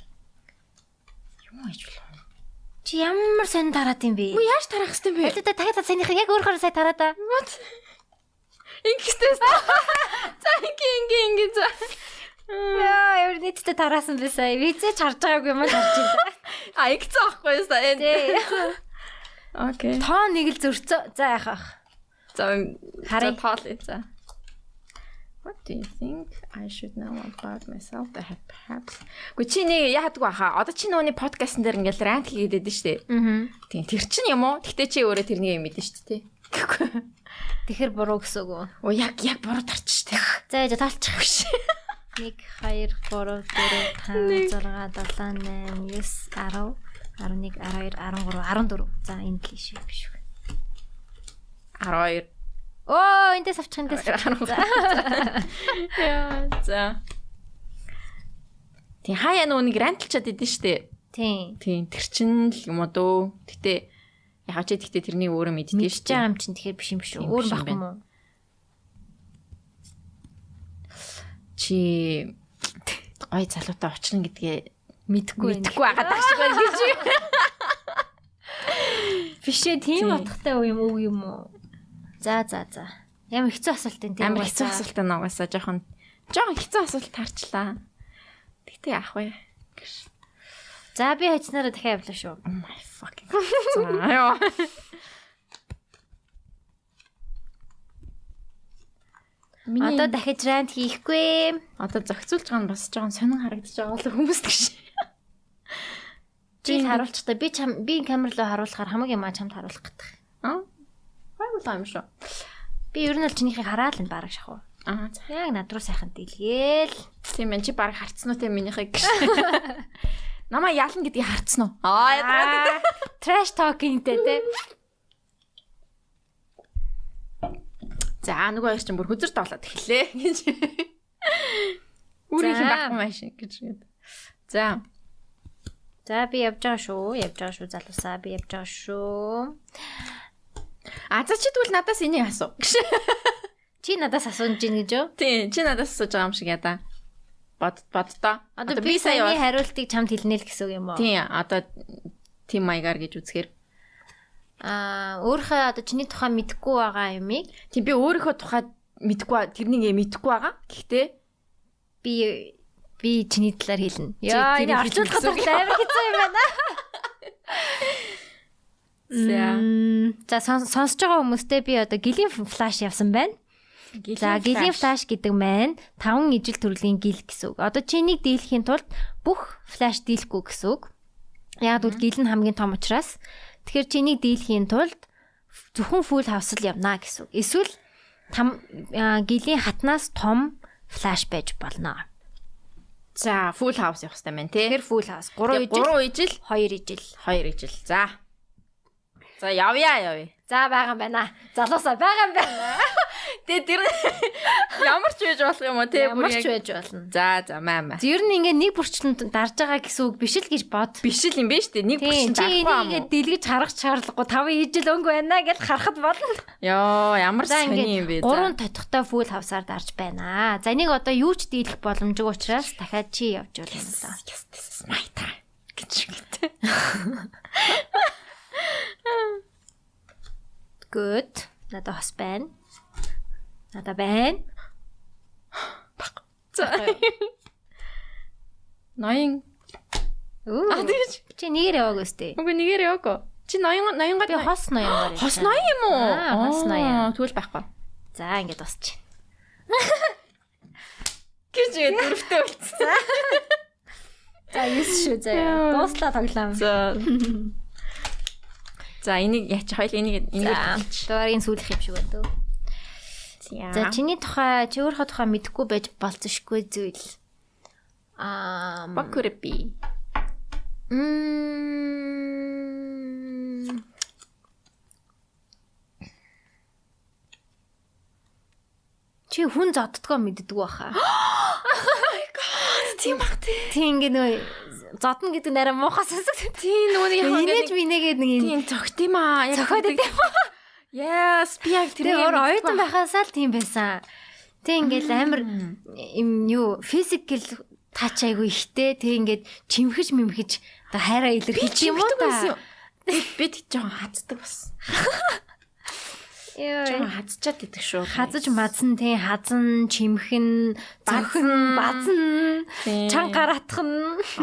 C: Юу аж болох.
A: Чи ямар сонь тараад юм бэ?
C: Яаж тарах хэвтэй бэ?
A: Айлтаа тагтаа санийх яг өөрөөр сая тараад аа.
C: Ингэстэй. За ингэ ингэ ингэ за.
A: Яа, ямар нийтдээ тараасан бэ сая. Визээ ч харж байгаагүй юм аа харж байна.
C: А ингэ цаахгүй юу сая.
A: Тий.
C: Окей.
A: Тоо нэг л зөрцөө. За яхах.
C: За
A: Харъя.
C: харин тоол за. What do you think I should know about myself that have perhaps? Гү чи нэг яадгүй хаа. Одоо чи нөөний подкастн дээр ингээл рант хийгээд байдэн шүү дээ.
A: Аа.
C: Тийм. Тэр чинь юм уу? Гэтэ чи өөрөө тэрнийг юм мэдэн шүү дээ. [laughs] Гэхгүй.
A: Тэгэхэр буруу гэсэн үг үү?
C: Оо яг яг буруу тарчих шүү дээ. [laughs]
A: За яж таалчих биш. 1 2 3 4 5 6 7 8 9 10 11 12 13 14 за энэ л шиг биш үү
C: 12
A: Оо энэ дэс авчих энэ дэс
C: Яа, за. Тий хаяа нүг ранталчаад идэв штэ.
A: тийм
C: Тий тэр чин л юм уу дөө. Гэтэ яхаа ч гэхдээ тэрний өөрөө мэддэг
A: мэдчихэж
C: штэ.
A: байгаа юм чинь тэгэхэр биш юм биш үү
C: Тийм
A: өөр
C: биш юм
A: бах юм уу
C: Чи гой залуутай очихын гэдгээ
A: мэдхгүй
C: мэдхгүй байгаад тагш байна гэж. [laughs]
A: бишээ тийм
C: Тийм.
A: утгатай уу юм өг юм уу за за за ямар хэцүү асуулт энэ
C: Амар хэцүү асуулт нугасаа жоохон жоохон хэцүү асуулт таарчлаа. Гэтэ яах вэ?
A: за би хачнараа дахиад явлаа шүү
C: Oh my fucking. За, Аё. Миний
A: одоо дахиж рант хийхгүй
C: одоо зохицуулж байгаа нь бас жоохон сонин харагдаж байгаа л хүмүүст гэж.
A: чи харуулчих та би чам би камер руу харуулахаар хамаг юм аа чамд харуулах гэдэг
C: Аа. Хайрлаа юм шүү.
A: Би ер нь л чинийхийг хараа л энэ бараг шахав.
C: Аа, за.
A: Яг над руу сайхан дэлгээл.
C: тийм ээ чи баг харцсан уу те минийхийг гэж. Намаа ялна гэдгийг харцсан уу? Аа, ядраад.
A: Trash talking дээр те.
C: За, нөгөө хоёр ч бүр хөзөр тоолоод эхэллээ гэж. Үрийн
A: За.
C: хин баггүй машин гэж. За.
A: За би явж байгаа шүү. Явж байгаа шүү залуусаа. Би явж байгаа шүү.
C: А за чи тэгвэл надаас энийг асуу. Гэж.
A: Чи надаас асууж гин гэж юу?
C: Тийм, чи надаас асууж байгаа юм шиг ядаа. Бод бодтоо.
A: Одоо би
C: сая
A: саяны хариултыг чамд хэлнэ л гэсэн үг юм уу?
C: Тийм, одоо тим маягаар гэж үзэхээр
A: аа өөрийнхөө одоо чиний тухай мэдхгүй байгаа юмыг
C: Тийм би өөрийнхөө тухайд мэдгүй ба- тэрнийг яа мэдгүй байгаа. Гэхдээ
A: би би чиний талаар хэлнэ.
C: Яа, энэ орчуулгад
A: бол амар хэцүү юм байна.
C: За.
A: За сон- сонсож байгаа хүмүүстээ би одоо гилийн флаш явсан байна. За гилийн флаш гэдэг маань 5 ижил төрлийн гил гэсэн үг. Одоо чинийг дийлэхийн тулд бүх флаш дийлэхгүй гэсэн үг. Яг бол гил нь хамгийн том учраас тэгэхээр чинийг дийлэхийн тулд ф- зөвхөн фул хавсал явна гэсэн үг. Эсвэл там аа, гилийн хатнаас том флаш байж болно.
C: За, full house явах хэрэгтэй байна, тий.
A: Тэр фул хавс 3 ижил,
C: 3 ижил,
A: 2 ижил.
C: 2 ижил. За. За, явъя явъя.
A: За байгаа юм байна. Залуусаа байгаа юм байна.
C: Тэгээ тэр [laughs] ямар ч байж болох юм уу, тий.
A: Ямар ч байж болно.
C: За, за, маа маа.
A: Ер нь ингээ нэг бүрчлэнд дарж байгаа гэсэн үг биш л гэж бод.
C: Биш л юм бэ штэ. Нэг
A: Тийм
C: бүрсэн
A: чи
C: дарахгүй юм
A: энийгээ
C: уу?
A: дэлгэж харах шаардлагагүй 5 ижил өнгө байна гэж харахад болно.
C: Йоо, ямар
A: За
C: сони юм
A: ингээд
C: бэ.
A: гурван тотхтой фул хавсаар дарж байна. За энийг одоо юу ч дийлэх боломжгүй учраас дахиад чи явж болно даа.
C: Yes, this is my time. гэж шигтэй.
A: Good. Надад хос байна. Надад байна.
C: За. 80. А
A: Үу.
C: тийч.
A: Чи нэгээр яваагүй сте.
C: Үгүй нэгээр яваагүй. Чи 80
A: Би
C: 80 гад
A: хос [gasps] ноёнгоор.
C: хос 80 юм уу?
A: Аа, хос ноён.
C: Түл байхгүй.
A: За ингээд дуусчих.
C: Гэж ингэ дөрөвтэй үлдсэн.
A: За 9 шүү
C: Яа.
A: заяа. Дууслаа тоглоом.
C: За. За, энийг яач хоёул энийг энийг
A: За дуурийн сүүлэх юм шиг өдөө. За
C: За.
A: чиний тухай чи өөрийнхөө тухай мэдэхгүй байж болцсошгүй зүйл. Аа
C: Бакурпи.
A: Мм. Чи хүн зодтгоо мэддэг [gasps] байхаа.
C: Тийм бах тий.
A: Тийм ингээ нөө зодно гэдэг нэрээ муухай сонсогд. Тийм
C: нөгөө нэг яг
A: инээж
C: ингээ нэг-
A: минийгээд нэг юм.
C: Тийм цогт юм аа. Яг
A: Цохоод
C: гэдэг. Yes, би яг
A: Тэр
C: тэрийг
A: өөр
C: мэддэг
A: оюутан
C: ба-
A: байхасаа л тийм байсан. Тэг ингээл амар юм юу физикл тач айгу ихтэй. Тэг ингээд чимхэж мэмхэж оо хайраа илэрхийлж юм уу
C: Чимхдэг байсан
A: та.
C: юм. Би тэг жоохон хацдаг бас. Жоохон
A: Йой.
C: хацчаад байдаг шүү.
A: Хазаж мазан тий хазан чимхэн
C: Базан.
A: зохон базан
C: Тийм.
A: чанга гараатхан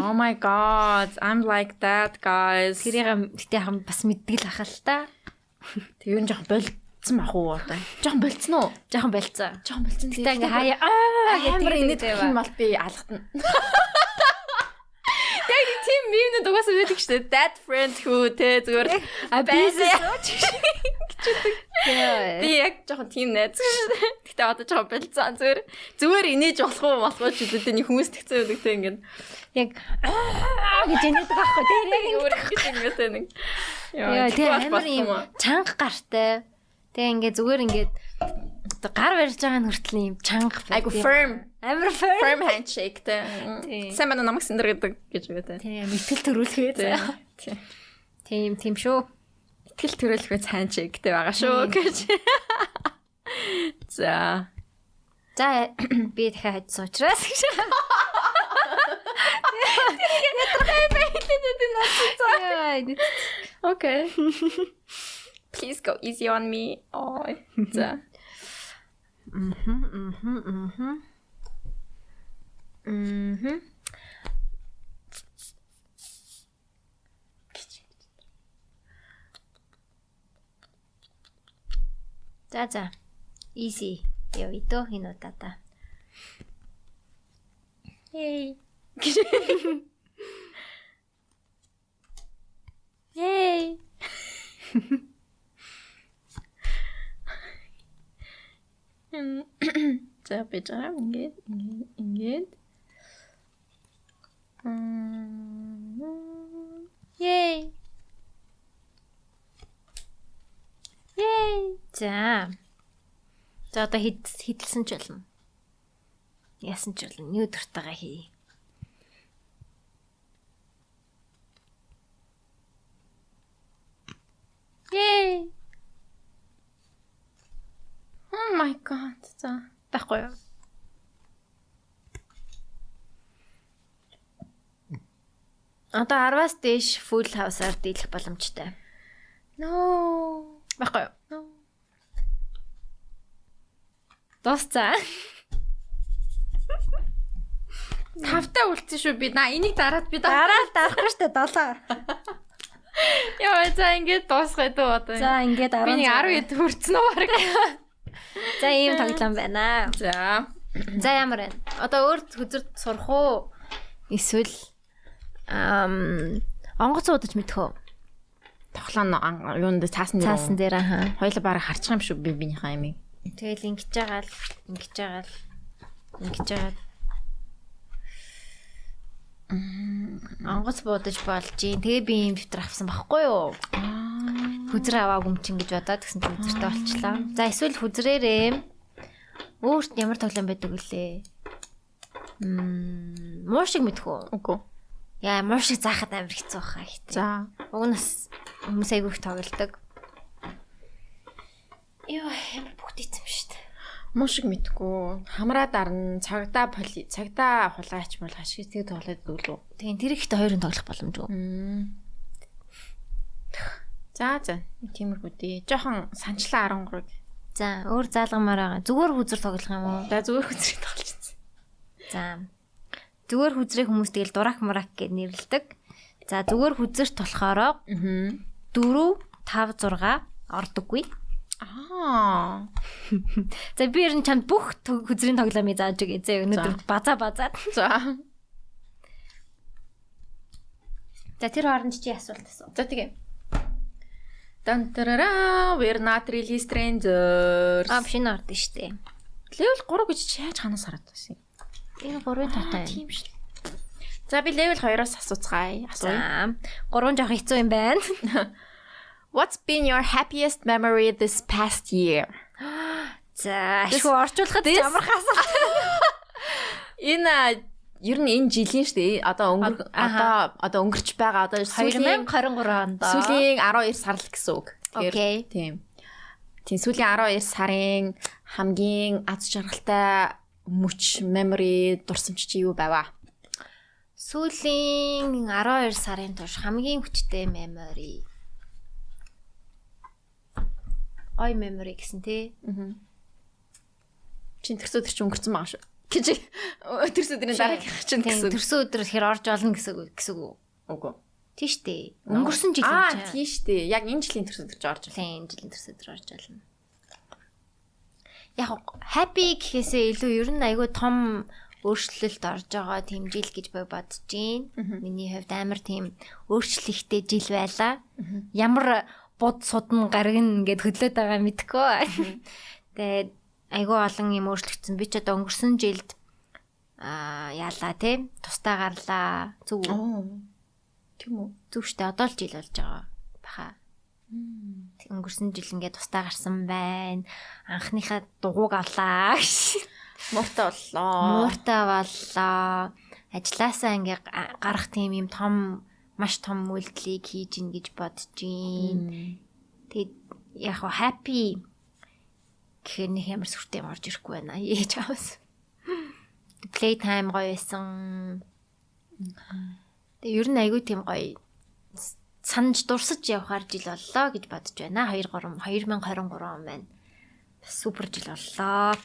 C: Oh my god, I'm like that guys. Тэр
A: тэрийг гэтээ хам бас мэддэг л ахал та.
C: ер нь жоохон болцсон бах уу одоо. Жоохон болцсон уу?
A: Жохон болцсон.
C: Жоохон болцсон.
A: Тэ ингээ хаяа аа гэдэг
C: амар
A: юм
C: инээд
A: дээ
C: хүн
A: ба.
C: бол би алгатна. [laughs] Яг нэг тийм мемнүүд угаасаа байдаг шүү дээ. That friend who тэ зүгээр а
A: Бизнес
C: бизнес.
A: Йой.
C: Би яг жоохон тийм найз шүү дээ. [laughs] Гэтэ одоо жоохон болцсон зүгээр. Зүгээр инээж болох уу, болохгүй ч үлдээ нэг хүмүүс тэгсэн үү гэдэг ингээд.
A: Яг аа гэж янаад байхгүй тэрийг ингээ
C: Өөр их ингэж ингээд нэг.
A: Яа тий амар юм чанга гартай. Тэгээ ингээ зүгээр ингээд оо гар барьж байгаа нь хүртэл юм чанга.
C: Айгу firm
A: Амар firm.
C: firm handshake тэ.
A: Тийм.
C: Сайн байна уу, намайг синдэр гэдэг гэж өгдөө.
A: Тий мэтгэл төрүүлгээ.
C: Тэ.
A: Тийм тийм шүү.
C: Итгэл төрөлхөө цаан чигтэй байгаа шүү [laughs] гэж. За.
A: За би дахиад хайдсан учраас гэж. Яа,
C: Okay. Please go easy on me. Ой. За.
A: Мгм. За за. Easy. Яа, итөө хин удаа. Эй. [laughs] Эй.
C: За би жаа ингээд ингээд ингээд. Мм.
A: Ей. Ей. За. За одоо хэд хэдэлсэн ч болно. Яасан ч болно. Юу дуртайгаа хий. Ей.
C: Oh my god. За.
A: Баггүй юу? Одоо 10-аас дээш full house-аар дийлэх боломжтой.
C: No.
A: Баггүй юу? Дуусцаа.
C: Тавтай үлдсэн шүү би. На энийг дараад би дараа.
A: Дараа л дарахгүй штэ 7.
C: Яа за ингэж дуусгая дөө одоо.
A: За ингээд 10.
C: би нэг 10 хэд хүрсэн үү баг.
A: За ийм тоглоом байна.
C: За.
A: За ямар байна? Одоо өөр хөзөр сурах уу? Эсвэл ам онгоц удаж мэдэх үү?
C: Тоглоно ан- юунд цаасан дээр.
A: Цаасан дээр аа.
C: Хоёлаа бараг харчих юм шүү би бинийхээ амийг.
A: Тэгэл ингэж байгаа л ингэж байгаа л ингэж байгаа. л. Онгоц буудаж болж юм. Тэгээ би юм дотор авсан байхгүй юу? Хүзрээ аваа гүмчин гэж бодоод тэгсэн чинь хүзртэй болчлаа. За эсвэл хүзрээрээ өөрт ямар тоглоом байдаг вүлээ? Мм, муушиг мэдхүү.
C: Үгүй.
A: Яа, муушиг заахад амар хэцүү баха хитэ.
C: За.
A: Уг нь бас хүмүүс айгүй их тоглодог. Йоо, ямар бүгдээцсэн шүү дээ.
C: Мушиг мэдгүй. Хамраа дарна. Цагдаа поли, цагдаа хулгайч мул ашиг тэг тоглоод дүүлүү.
A: Тэгин тэр ихтэй хоёрын тоглох боломжгүй.
C: За за. Тиймэрхүү дээ. Жохон санчлаа 13-ыг.
A: За, өөр заалгамаар байгаа. Зүгээр хүзэр тоглох юм уу?
C: За зүгээр хүзрийг тоглчихсон.
A: За. Зүгээр хүзрийг хүмүүс тэгэл дурак мурак гэж нэрлдэг. За, зүгээр хүзэрт болохоор
C: Аа.
A: 4 5 6 ордоггүй.
C: Аа.
A: За, би ер нь чанд бүх тө- хүзрийн тоглоомыг зааж өгье. Зэ өнөөдөр базаа базаа.
C: За.
A: За, тэр хооронд чи асуулт асуу.
C: За тэгээ. Тантарара, we're not really strangers.
A: Аа, шинэ орд нь штэ.
C: level 3 гэж чи яаж ханаас хараад байсан юм?
A: Энэ 3-ын тоотой.
C: Тийм шүү. За би level 2-оос асууцгаая. Асууя.
A: За, 3 жоох хэцүү юм байна. [laughs]
C: What's been your happiest memory this past year?
A: За, ашгүй орчуулахад ямар хасаа.
C: Энэ а, ер нь энэ жилийн шүү дээ. Одоо өнгөр одоо
A: Аха.
C: одоо өнгөрч байгаа одоо сүүлийн
A: 2023 онд.
C: сүүлийн 12 сар л гэсэн үг. Тэгэхээр,
A: Окей.
C: Тийм. Тийм сүүлийн 12 сарын хамгийн аз жаргалтай мөч memory дурсамж чи юу байваа?
A: Сүүлийн 12 сарын турш хамгийн хүчтэй memory. Ой memory гэсэн тий.
C: Чи төрсө төр чи өнгөрцөн байгаа шүү. Гэж [laughs] төрсө төрний дараагийнх чинь гэсэн
A: Тий,
C: үг.
A: Төрсөн өдрөөр хэр орж олно гэсэн үг гэсэн үг.
C: Үгүй.
A: Тийш тий. Өнгөрсөн жил
C: Аа
A: юм чи.
C: тийм шүү дээ. Яг энэ жилийн төрсө төр чи орж ирлээ.
A: Тийм жилийн төрсөн өдрөөр орж олно. Яг гоо, happy гэхээсээ илүү ер нь айгүй том өөрчлөлт орж байгаа тийм жил гэж бод- бодож гин. Миний хувьд амар тийм өөрчлөлттэй жил байлаа. Ямар бод судна гаргана гэд хөдлөөд байгаа мэдхгүй. [laughs] Тэгээд айгүй олон юм өөрчлөгдсөн. Би ч одоо өнгөрсөн жилд аа яалаа тий. Тустаа гарлаа. Зүг үү?
C: Оо. Тийм үү?
A: Зүг штэ одоо л жил болж байгаа баха. Тэг, Өнгөрсөн жил ингээд тустаа гарсан байна. Анхныхаа дугуйг авлаа.
C: Мууртай боллоо.
A: Мууртай боллоо. Ажлаасаа ингээд га- гарах тийм юм том маш том үйлдэлийг хийж ин гэж бодож байна. Тэг яг хаа happy гэхээр нэг ямар сүртэй юм орж ирэхгүй байна. [laughs] Ээж аваас. Play time гоё байсан. Тэг ер нь айгүй тийм гоё санаж дурсаж явхаар жил боллоо гэж бодож байна. 2 3 2023 он байна. Бас супер жил боллоо.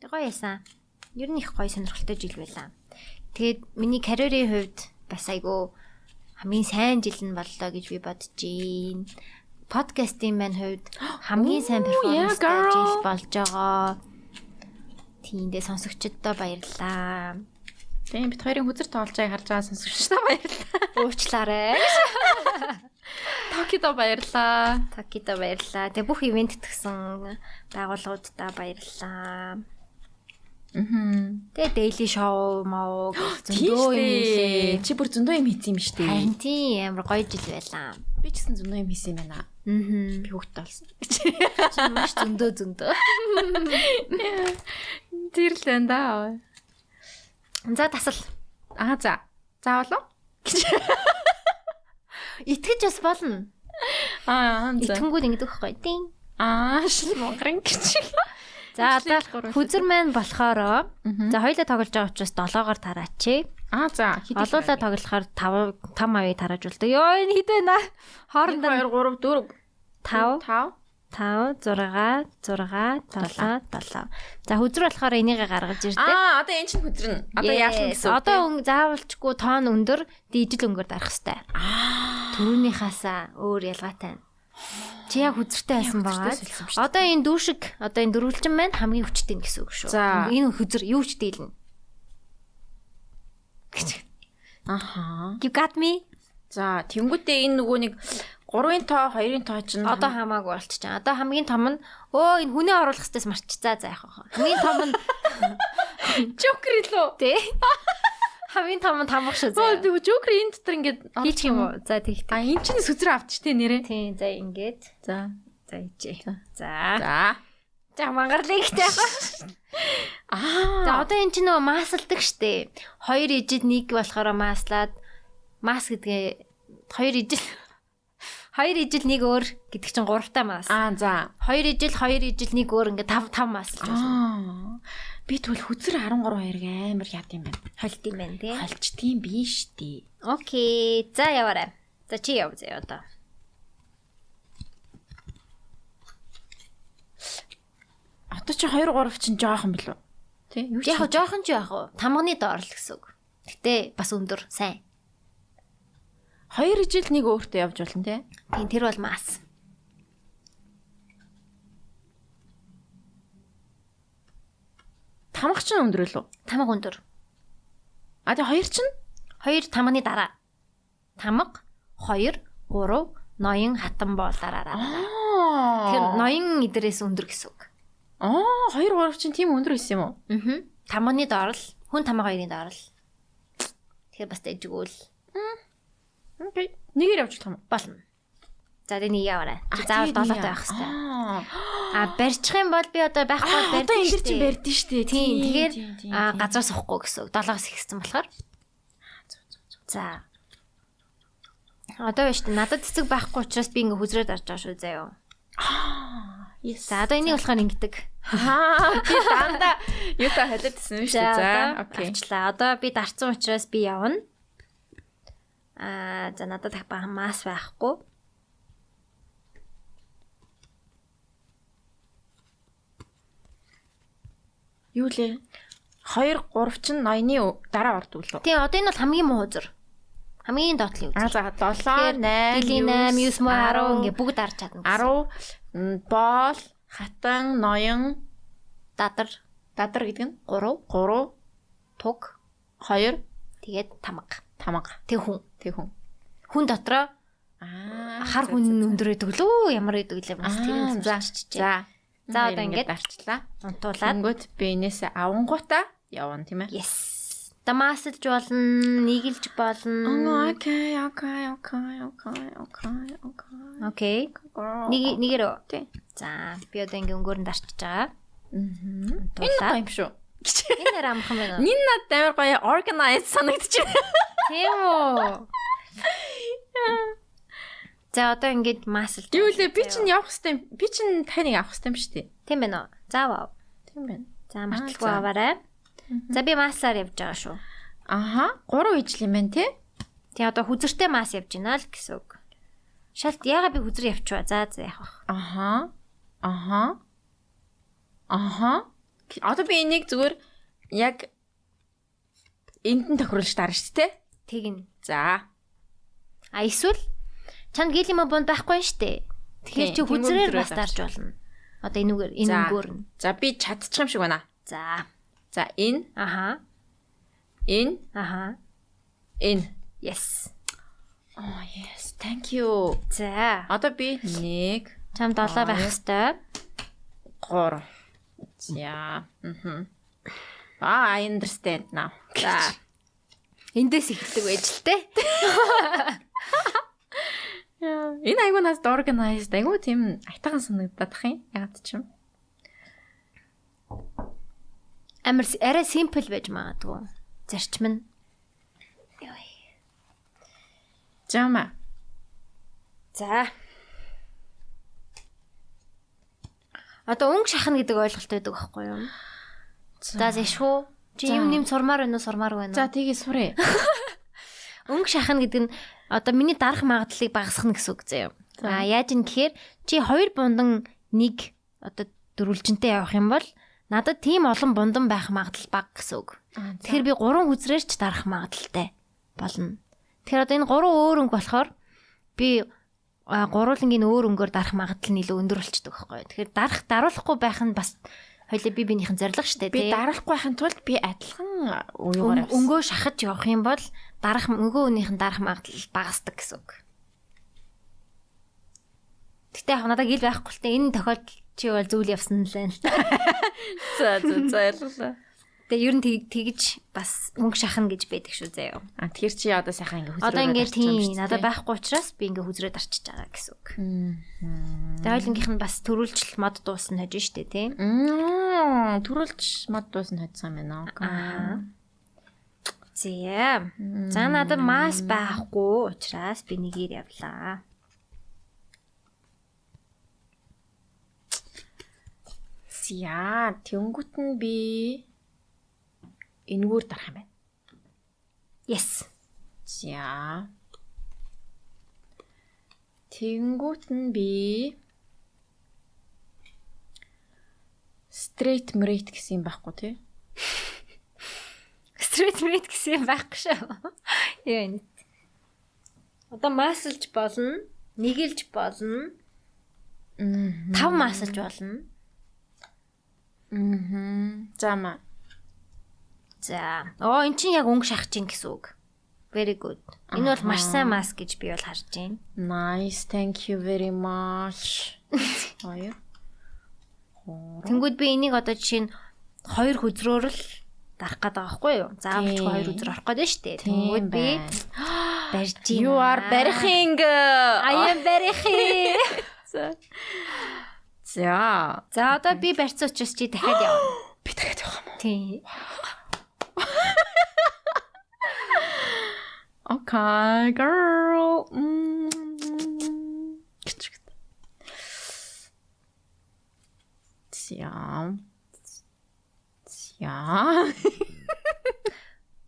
A: Тэг гоё ясан. Ер нь их гоё сонирхолтой жил байлаа. Тэгээд миний карьерийн хувьд бас айгүй хамгийн сайн жил нь боллоо гэж би бодож байна. Подкастын маань хувьд хамгийн сайн перформанстай
C: girl.
A: жил болж байгаа. Тиймдээ сонсогчдод баярлалаа.
C: Тийм бит хоёрын хүзэр тоолжайг харж байгаа сонсогч та баярлалаа.
A: Уучлаарай.
C: Токидо баярлалаа.
A: Такида баярлалаа. Тэгээ бүх ивент тгсэн байгууллагуудаа баярлалаа.
C: Аа.
A: Тэгээ daily show маа
C: Зөндөө
A: зөндөө юм
C: юм
A: хийлээ.
C: Чи бүр зөндөө юм хийсэн юм шүү дээ.
A: Харин тийм амар гоё жил байлаа.
C: Би ч гэсэн зөндөө юм хийсэн юм байна.
A: Аа.
C: Би хөөхтэй болсон.
A: Чи маш зөндөө зөндөө.
C: [laughs] Тэр л энэ даа.
A: За тасал.
C: Аа за. За болов?
A: Итгэж бас болно.
C: Аа
A: Итгэнгүүд ингэдэг байхгүй. Тийм.
C: Аа шил монгрын [laughs] гिचиг.
A: За одоо
C: Ажлын гурван
A: хүзэр маань болохоор за хоёлаа тоглож байгаа учраас 7-оор тараач.
C: Аа за
A: Олуулаа тоглохоор 5 5 авийг тарааж болдог. Йоо энэ хэд байна? Хооронд
C: 2 3 4
A: 5
C: 5
A: 5 6 6 7 7. За хүзр болохоор энийг гаргаж ирдэг.
C: Аа одоо энэ чинь хүзэрнэ. Одоо яална
A: Yes.
C: гэсэн.
A: Одоо өнгө заавалчгүй тоон өндөр, дижил өнгөөр дарах хэвээр. Төрүүнийхаасаа өөр ялгаатай. нь. Чи яг хүзэртэй байсан байгаа.
C: хүзэртэй солихсон
A: Одоо энэ дүүшиг, одоо энэ дөрвөлжин маань хамгийн хүчтэй нь гэсэн үг шүү.
C: За.
A: Энэ хүзэр юу ч дийлнэ.
C: Аха.
A: You got me.
C: За тэнгуүтээ энэ нөгөө нэг 3-ын тоо 2-ын тоо чинь
A: Одоо хамаагүй болчихоо. Одоо хамгийн том нь өө энэ хүний оруулах хэвчээс марчцаа за яах вэ? Хамгийн том нь
C: жокер илүү.
A: тий. Хамгийн том нь тамх шүү зөө.
C: нөгөө жокер энэ дотор ингээд
A: Хийчих юм уу? За тэгтээ.
C: А энэ чинь сүзрэ авчих те нэрээ.
A: Тий, за ингээд.
C: За.
A: За хийжээ. За.
C: За.
A: За мангарлыг таах.
C: Аа.
A: [laughs] За одоо эн чинь нөгөө маслдаг штэ. Хоёр ижид нэг болохоор маслаад мас гэдгээ хоёр ижил [laughs] хоёр ижил нэг өөр гэдэг чинь гуравтай мас.
C: Аа за.
A: Хоёр ижил хоёр ижил нэг өөр ингээд тав тав мас л болно.
C: Аа. Би тэгвэл хүзэр 13 2-ыг амар яд юм байна.
A: Холт юм байна тий.
C: Холч тийм биш тий.
A: Окей. За яваарай. За чи яв зэ одоо.
C: Одоо чи 2 3 чинь жоохон билүү. Тий. Юу
A: Яг хоо жоохон ч яг хоо тамганы доор л гэсэн үг. Гэтэ бас өндөр сайн.
C: 2 жил нэг өөртөө явж болно тий.
A: Тийм тэр бол мас.
C: Тамх чинь өндөр лөө.
A: Тамга өндөр.
C: А тий 2 чинь
A: Хоёр тамганы дараа. Тамга 2 3 ноён хатан боолаараа. Тэр
C: Аа.
A: ноён идэрээс өндөр гэсэн үг.
C: Аа 2 3 чинь тийм өндөр байсан юм уу?
A: Аа. Тамганы доор л хүн тамга хоёрын доор л. Тэгэхээр бас дэжгүүл
C: Окей. Нэгээр явж болох юм.
A: болно. За тэний яваарай. Чи Заавал долоотой байх хэвээр.
C: хэвээр.
A: А барьчих юм бол би одоо байхгүй бол барьдаг.
C: Одоо энэ
A: шүү
C: чинь
A: дээ.
C: барьдэн шүү дээ.
A: Тийм, тэгээд аа,
C: газар
A: газраас авахгүй гэсэн үг. 7-оос ихсэн болохоор. За. Одоо байна шүү дээ. Надад цэцэг байхгүй учраас би ингээ хүзрээд арч байгаа шүү заяо. За одоо энийг болохоор ингэдэг.
C: Аа, би дандаа юу та халиад гэсэн юм шүү. За,
A: одоо
C: окей.
A: Авчлаа. Одоо би дарцсан учраас би явна. Аа, за надад тахба мас байхгүй.
C: Юу лээ? 2 3 чинь ноёны ө- дараа ордог лөө.
A: Тийм, одоо энэ бол хамгийн муу хүзэр. Хамгийн доотлын хүзэр.
C: Аа за 7 8
A: Дэлийн 8, 9, 10 ингээ бүгд арч чадна.
C: 10 м, боол, хатан, ноён,
A: дадар
C: дадар гэдэг нь
A: 3,
C: 3
A: туг,
C: 2
A: тэгээд тамга.
C: тамга.
A: Тэг хүн.
C: Тэг хүн.
A: Хүн дотроо
C: Аа,
A: хар
C: за,
A: хүн
C: за,
A: өндөр идэг лөө ямар идэг лээ бас тэр
C: Аа,
A: юм
C: за.
A: зарччихжээ.
C: За.
A: За, одоо ингэж
C: гарчлаа.
A: Унтуулаад
C: Тэнгөт би энээс авангуута явна тийм ээ.
A: yes. Дамасэлж болно, нийгэлж болно.
C: окей, окей, окей, окей, окей, окей.
A: Окей. Нэг
C: Нэг
A: нэгэрөө.
C: Тий.
A: За, би одоо ингээ өнгөөр нь дарчиж байгаа.
C: энэ гоё
A: Унтуулаад.
C: юм шүү.
A: Энэ нэр амхан байна уу?
C: Нин над амар гоё organize санагдчихэ.
A: Тийм үү? За, одоо ингээд масэлж.
C: [laughs] Юу лээ би чинь явах хэвээр би чинь таныг авах хэвээр шүү дээ.
A: Тийм байна уу? За, ваа.
C: Тийм байна.
A: За, марталгүй
C: за.
A: аваарай. За, би масаар явж байгаа шүү.
C: Аха, 3 ижил юм байна тий.
A: Тий одоо хүзэртэй мас явж гинэ л гэсэн үг. Шалт яага би хүзэр явчихва. За за явах.
C: Аха. Аха. Аха. Одоо би энийг зүгээр яг энд нь тохируулж дарна шүү дээ.
A: Тэгнь.
C: За.
A: А эсвэл чанд гилима бонд байхгүй штэ. Тэгэхээр
C: Тий,
A: чи
C: тэнгүүр
A: хүзрээр
C: өдрөө
A: бас дарж болно. Одоо энүүгээр энэ
C: За.
A: өнгөөр нь.
C: За би чадчих юм шиг байна.
A: За.
C: За энэ,
A: Аха.
C: энэ,
A: Аха.
C: энэ.
A: Yes.
C: Oh yes, thank you.
A: За.
C: Одоо би 1
A: Чам 7 байх хэвээр.
C: 3. За. Мм. Аа, I understand now. За.
A: Эндээс эхэлдэг байж л те.
C: Энэ айгүй нас organized айгүй тийм айтахан санагдах юм. Ягаад ч юм.
A: Амар с- арай simple байж магадгүй. Зарчим нь. Йой.
C: Жама.
A: За. Одоо өнгө шахна гэдэг ойлголт байдаг байхгүй юу? За зэшгүй. Чи юм нэм сурмаар байна уу, сурмаар байна
C: За
A: уу?
C: тэгээ [laughs] сурээ.
A: Өнгө шахна гэдэг нь одоо миний дарах магадлалыг багасгах нь гэсэн үг заяа.
C: За.
A: За яаж юм тэгэхээр чи хоёр бундан нэг одоо дөрвөлжинтэй явах юм бол надад тийм олон бундан байх магадлал бага гэсэн үг.
C: Тэр
A: Тэгэхээр би гурван үзрээр ч дарах магадлалтай болно. Тэгэхээр одоо энэ гурван өөр өнгө болохоор би а, гурвангийн өөр өнгөөр дарах магадлал нь илүү өндөр болчдөг байхгүй юу. Тэгэхээр дарах даруулахгүй байх нь бас хоёлаа би бинийхэн зориг штэ
C: би
A: тий.
C: дараахгүй хань тулд би адилхан
A: Өн-
C: үегээр
A: Өнгөө шахаж явах юм бол дарах өнгөө өөнийх нь дарах магадлал багасдаг гэсэн үг. Гэтэ яг надад гил байхгүй л те энэ тохиолдол чи бол зүйл явсан л байх л та.
C: За за за яллаа.
A: Тэгээ ер нь тэг- тэгж бас өнгө шахна гэж байдаг шүү заяа.
C: А тэгэхээр чи одоо сайхан ингээ
A: Одоо ингээд тийм надад
C: байх.
A: байхгүй учраас би ингээ хүзрээд арчиж байгаа гэсэн үг. Тэгээ ойлгийнх нь бас төрүүлжл мод дуусна хэж штэ тий.
C: Мм төрүүлж мод дуусан хайцсан байна.
A: Аа. Зээ. За надад мас байхгүй учраас би нэгээр явлаа.
C: Зя тэнгүүт нь би энэгээр дарах юм байна.
A: Yes. [laughs]
C: За. Тэнгүүт нь би стрейт мрэйт гэсэн юм байхгүй тий.
A: Стрит мэд гэсэн юм байхгүй шүү. Яа энэ. Одоо масалж болно, нэгэлж болно,
C: Мм.
A: тав масалж болно.
C: Мм. Зама.
A: За. Оо эн чинь яг өнгө шахаж гин гэсэн үг. Very good. Энэ бол маш сайн мас гэж би бол харж байна.
C: Nice. Thank you very [laughs] much. Хоёр.
A: Тэнгүүд би энийг одоо жишээ нь хоёр хүзрөөр л дарах гэдэг байхгүй юу? Заавал ч
C: Тийм.
A: хоёр хүзрээр арах гэдэг нь шүү дээ. Тэнгүүд би [gasps] барьж байна.
C: You are barring.
A: [gasps] I am барихи.
C: За.
A: [gasps] За одоо би барьцсан учраас чи дахиад [gasps] явна.
C: Би дахиад явах юм уу?
A: Тийм.
C: Okay, girl. За. За.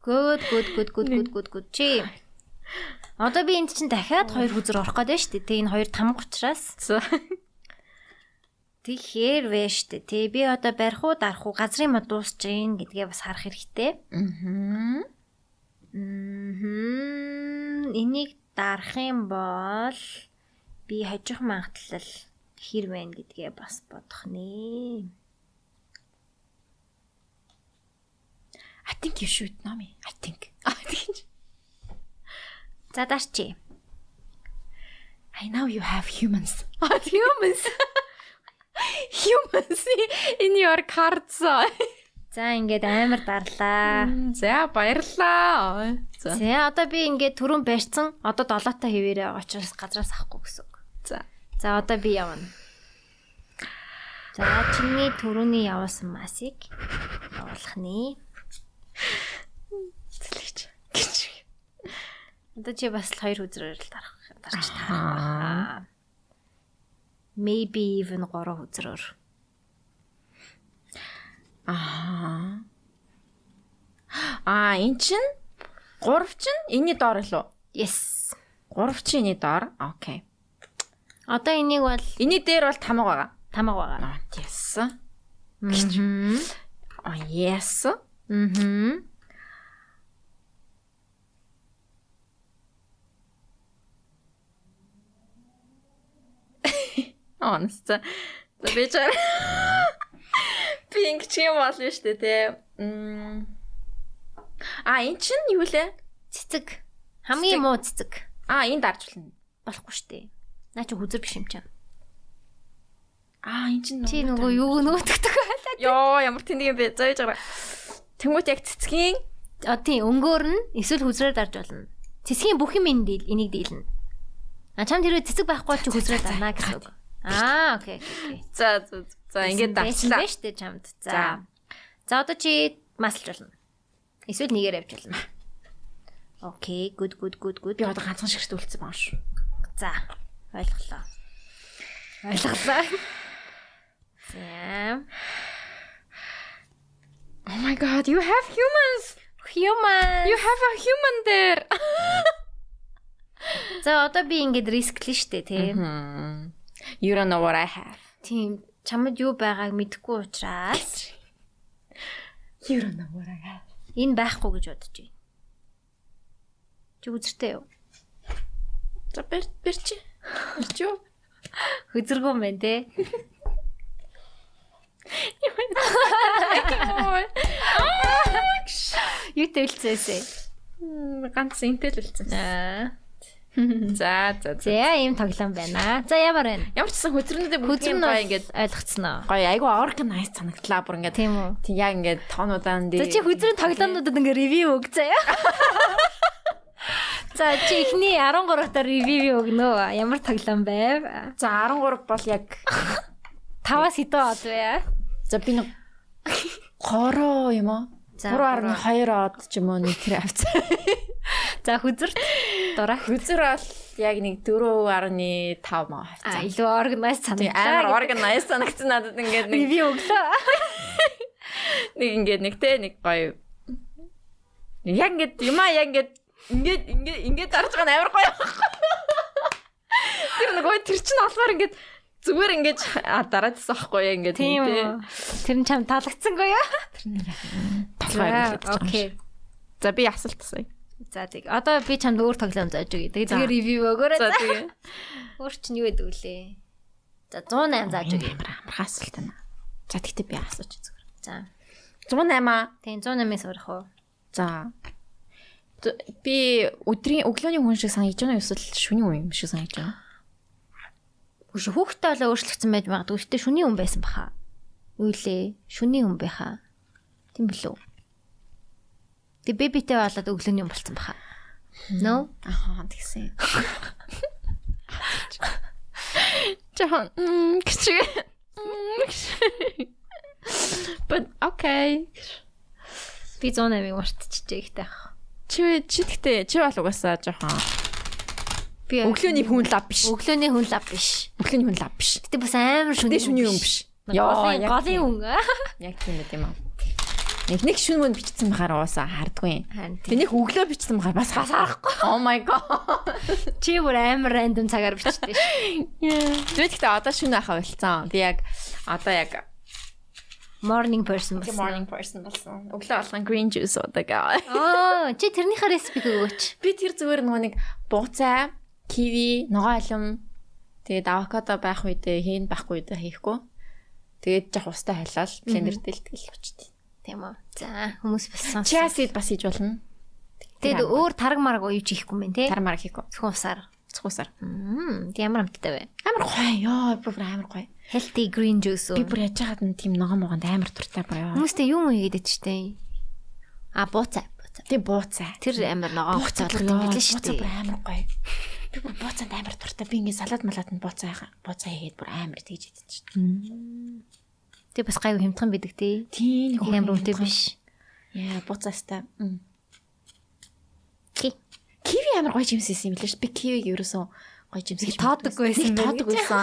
A: Good good good good good good good чи. Одоо би энд чинь дахиад хоёр хүзрээр орох гэдэг нь шүү дээ. Тэ энэ хоёр там учраас.
C: За.
A: Тэгэхээр вэ шүү дээ. Тэ би одоо барих уу, дарах уу, газрын мод дуусч гин гэдгээ бас харах хэрэгтэй.
C: Мгм.
A: Мгм. Энийг дарах юм бол би хожих магадлал хэр байна гэдгээ бас бодох нэ.
C: I think you should know me. I think.
A: За дарчи.
C: I know you have humans. humans. humans in your cards.
A: За ингээд амар дарлаа.
C: За баярлаа. За.
A: За одоо би ингээд түрүүн барьсан одоо долоотой хэвээрээ байгаа учраас газраас авахгүй гэсэн үг.
C: За.
A: За одоо би явна. За чиний төрөний явуулсан масыг явуулах нэ.
C: Цэлгэж. Гэж.
A: Одоо чи бас л хоёр үзрээр л дарах дарч таа.
C: Аа.
A: Аа. Maybe even 3 үзрээр.
C: Аа. Аа, эн чин 3 чин энэний доор лөө.
A: Yes.
C: 3 чин энэний доор. Окей.
A: Одоо энийг бол
C: Эний дээр бол тамга байгаа.
A: тамаг байгаа.
C: Аа, yes. Аа,
A: Мгм.
C: yes.
A: Мгм.
C: Онс. За За, би чар. Би ингэж юм болно шүү дээ, тий. Мм. Аа, эн чин юу лээ?
A: Цэцэг. Хамгийн муу цэцэг
C: Аа, энд даржулна.
A: болохгүй штэ. Наа чи хүзэр биш юм чам.
C: Аа, эн чин
A: Чи нөгөө юу [laughs] нөөтгдөг байлаа.
C: Йоо, ямар тэнэг юм бэ? За, би чар. Тэнгүүт яг цэцгийн
A: А тийм өнгөөр нь эсвэл хүзрээр дарж болно. Цэцгийн бүх юм энд дийл энийг дийлнэ. А чам тэрвээ цэцэг байхгүй бол чи хүзрээр дарна гэсэн үг. Аа окей окей. окей.
C: За за за. за ингээд
A: Байсан
C: давчлаа.
A: байж штэ чамд.
C: За.
A: За. За одоо чи маслж болно. Эсвэл нэгээр явж болно. Окей, good good good good.
C: Би одоо ганцхан шигт үлдсэн байгаа шүү.
A: За, ойлголоо. Ойлголоо. За.
B: Oh my god, you have humans.
A: Human.
B: You have a human there.
A: За одоо би ингээд рисклээ штэ тий.
C: You don't know what I have.
A: Тийм. Чамд юу байгааг мэдэхгүй учраас
B: You don't know what I have.
A: энэ байхгүй гэж бодож байна. Чи үзэртэй юу?
C: За бэр бэр чи. Бэр чи юу?
A: Хөзөргөн байна те. Юу төлцөөсэй.
C: Ганц энтэй л үлдсэн.
A: За
C: За за за.
A: ийм тоглоом байна. За ямар байна?
C: Ямар ч гэсэн хөзөрнөдөө бүгд
A: Хөзөр нь
C: юм гоё ингээд
A: ойлгоцсон аа.
C: гоё айгу organized санагдлаа бүр ингээд.
A: Тийм үү?
C: Тийм яг ингээд тоонуудаа
A: За
C: дээр.
A: чи хөзрийн тоглоомнуудад ингээ ревю өг заяа. За чи ихний 13-т ревю өгнө. Ямар тоглоом байв?
C: За 13 бол яг
A: 5-аас хэдэн од вэ?
C: за би нэг 3 юм аа.
A: За,
C: 3.2 од ч юм уу нэг тэр авцаа.
A: За хөзөрт дурах.
C: [laughs] Хөзөр бол яг нэг 4.5
A: А
C: маа авцаа.
A: илүү органайз
C: Тийм
A: санагдлаа.
C: амар organized санагдсан надад ингээд нэг
A: ревю өглөө.
C: нэг ингээд нэг те нэг гоё яг ингээд юмаа яг ингээд ингээд ингээд ингээд дарж байгаа нь амар гоё байхгүй тэр нэг гоё тэр чинь олмоор ингээд зүгээр ингээд а, дараад тассан байхгүй яг ингээд
A: Тийм үү. Тэр нь чам таалагдсангүй юу?
C: толгой окей
A: Окей.
C: за би асуулт асууя
A: За тийг. Одоо би чамд өөр тоглоом зааж өгье. Тэгээ тэгээ ревю өгөөрэй.
C: за
A: За
C: тэгээ
A: өөр чинь юу гэдэг үлээ. За 108 зааж өгье.
C: амар амархан асуулт байна за тэгтээ би асууж зүгээр
A: За.
C: 108 аа
A: Тэгээ 108-ээс өрөх үү?
C: за Т- би өдрийн өглөөний хүн шиг санаж байна уу эсвэл шөнийн хүн юм шиг санаж байна
A: Үгүй хүүхдтэй болоо өөрчлөгдсөн байж магадгүй. Гэтэ шүний хүн байсан баха. Юу лээ? Шүний хүн байха. Тийм билүү? Тэг бэбитэй болоод өглөөний хүн болсон баха. No?
C: Аа тэгсэн. Жохон мм кичиг. Мм, кичиг. But okay.
A: Би 108-ыг мартчихжээ ихтэй ах.
C: Чи чи гэхдээ чи бол угаасаа жохон
A: Би
C: өглөөний хүн лав биш.
A: өглөөний хүн лав биш.
C: Өглөөний хүн лав биш.
A: Гэтэ бас амар шүний.
C: Тэ шүний юм биш.
A: Яа,
C: яг
A: голын
C: тийм.
A: хүн.
C: Яг тийм байт юм аа. Нэг нэг шүн мөн бичсэн бахаар угаасаа хардгүй.
A: Харин тийм.
C: Тэнийг өглөө бичсэн бахаар бас хас харахгүй. Oh my god.
A: Чи бүр амар рандом цагаар бичдэг шүү. [laughs]
C: Тэ гэхдээ одоо шүн ахаа болцсон. Би яг одоо яг
A: Morning person
C: Good
A: болсон.
C: morning person болсон. Өглөө алган green juice уудаг. [laughs]
A: Оо, чи тэрнийхээ рецепт өгөөч.
C: Би тэр зүгээр нөгөө нэг буцаа, киви, ногоо алим, тэгээд авокадо байх үедээ хийн байхгүй үедээ хийхгүй. Тэгээд жах устай хайлал блендер дэлтгэл болчтой.
A: Тийм үү. За, хүмүүс болсон.
C: Chia seed бас хийж болно.
A: Тэгэд өөр тараг мараг уу юу ч хийхгүй мэн те.
C: Тармаар хийхгүй.
A: Зөвхөн усаар.
C: Цусаар.
A: Мм, тэг ямар амттай вэ?
C: Амар гоё ёо, бүр амар гоё.
A: Healthy green juice
C: Би
A: үү?
C: бүр яж хаад нь тийм ногоо могонд амар туртай боёо.
A: Хүмүүстээ юу юм хийгээд ичтэй. А бууцай. бууцай.
C: Тэг буцаа.
A: Тэр амар ногоо
C: Буцаа
A: хуцаалдаг
C: бүр
A: юм
C: яа,
A: билээ шүү
C: буцаа бүр
A: дээ.
C: амар [laughs] гоё. Би бүр буцаанд амар туртай. Би ингээд салат малатанд буцаа яхаа. Буцаа хийгээд бүр амар тэгж идэж чинь.
A: Тэг бас гайгүй хямдхан бидэг те.
C: Тийм
A: Тэг амар үнэтэй биш.
C: Яа, буцаастай. Мм.
A: Ки.
C: Киви амар гоё жимс исэн юм лээ ш. Би кивиг ерөөсөн гоё жимс гэж
A: тоодаггүй байсан
C: мэдсэн. Нэг
A: байх
C: тоодог
A: гэж.
C: байсан.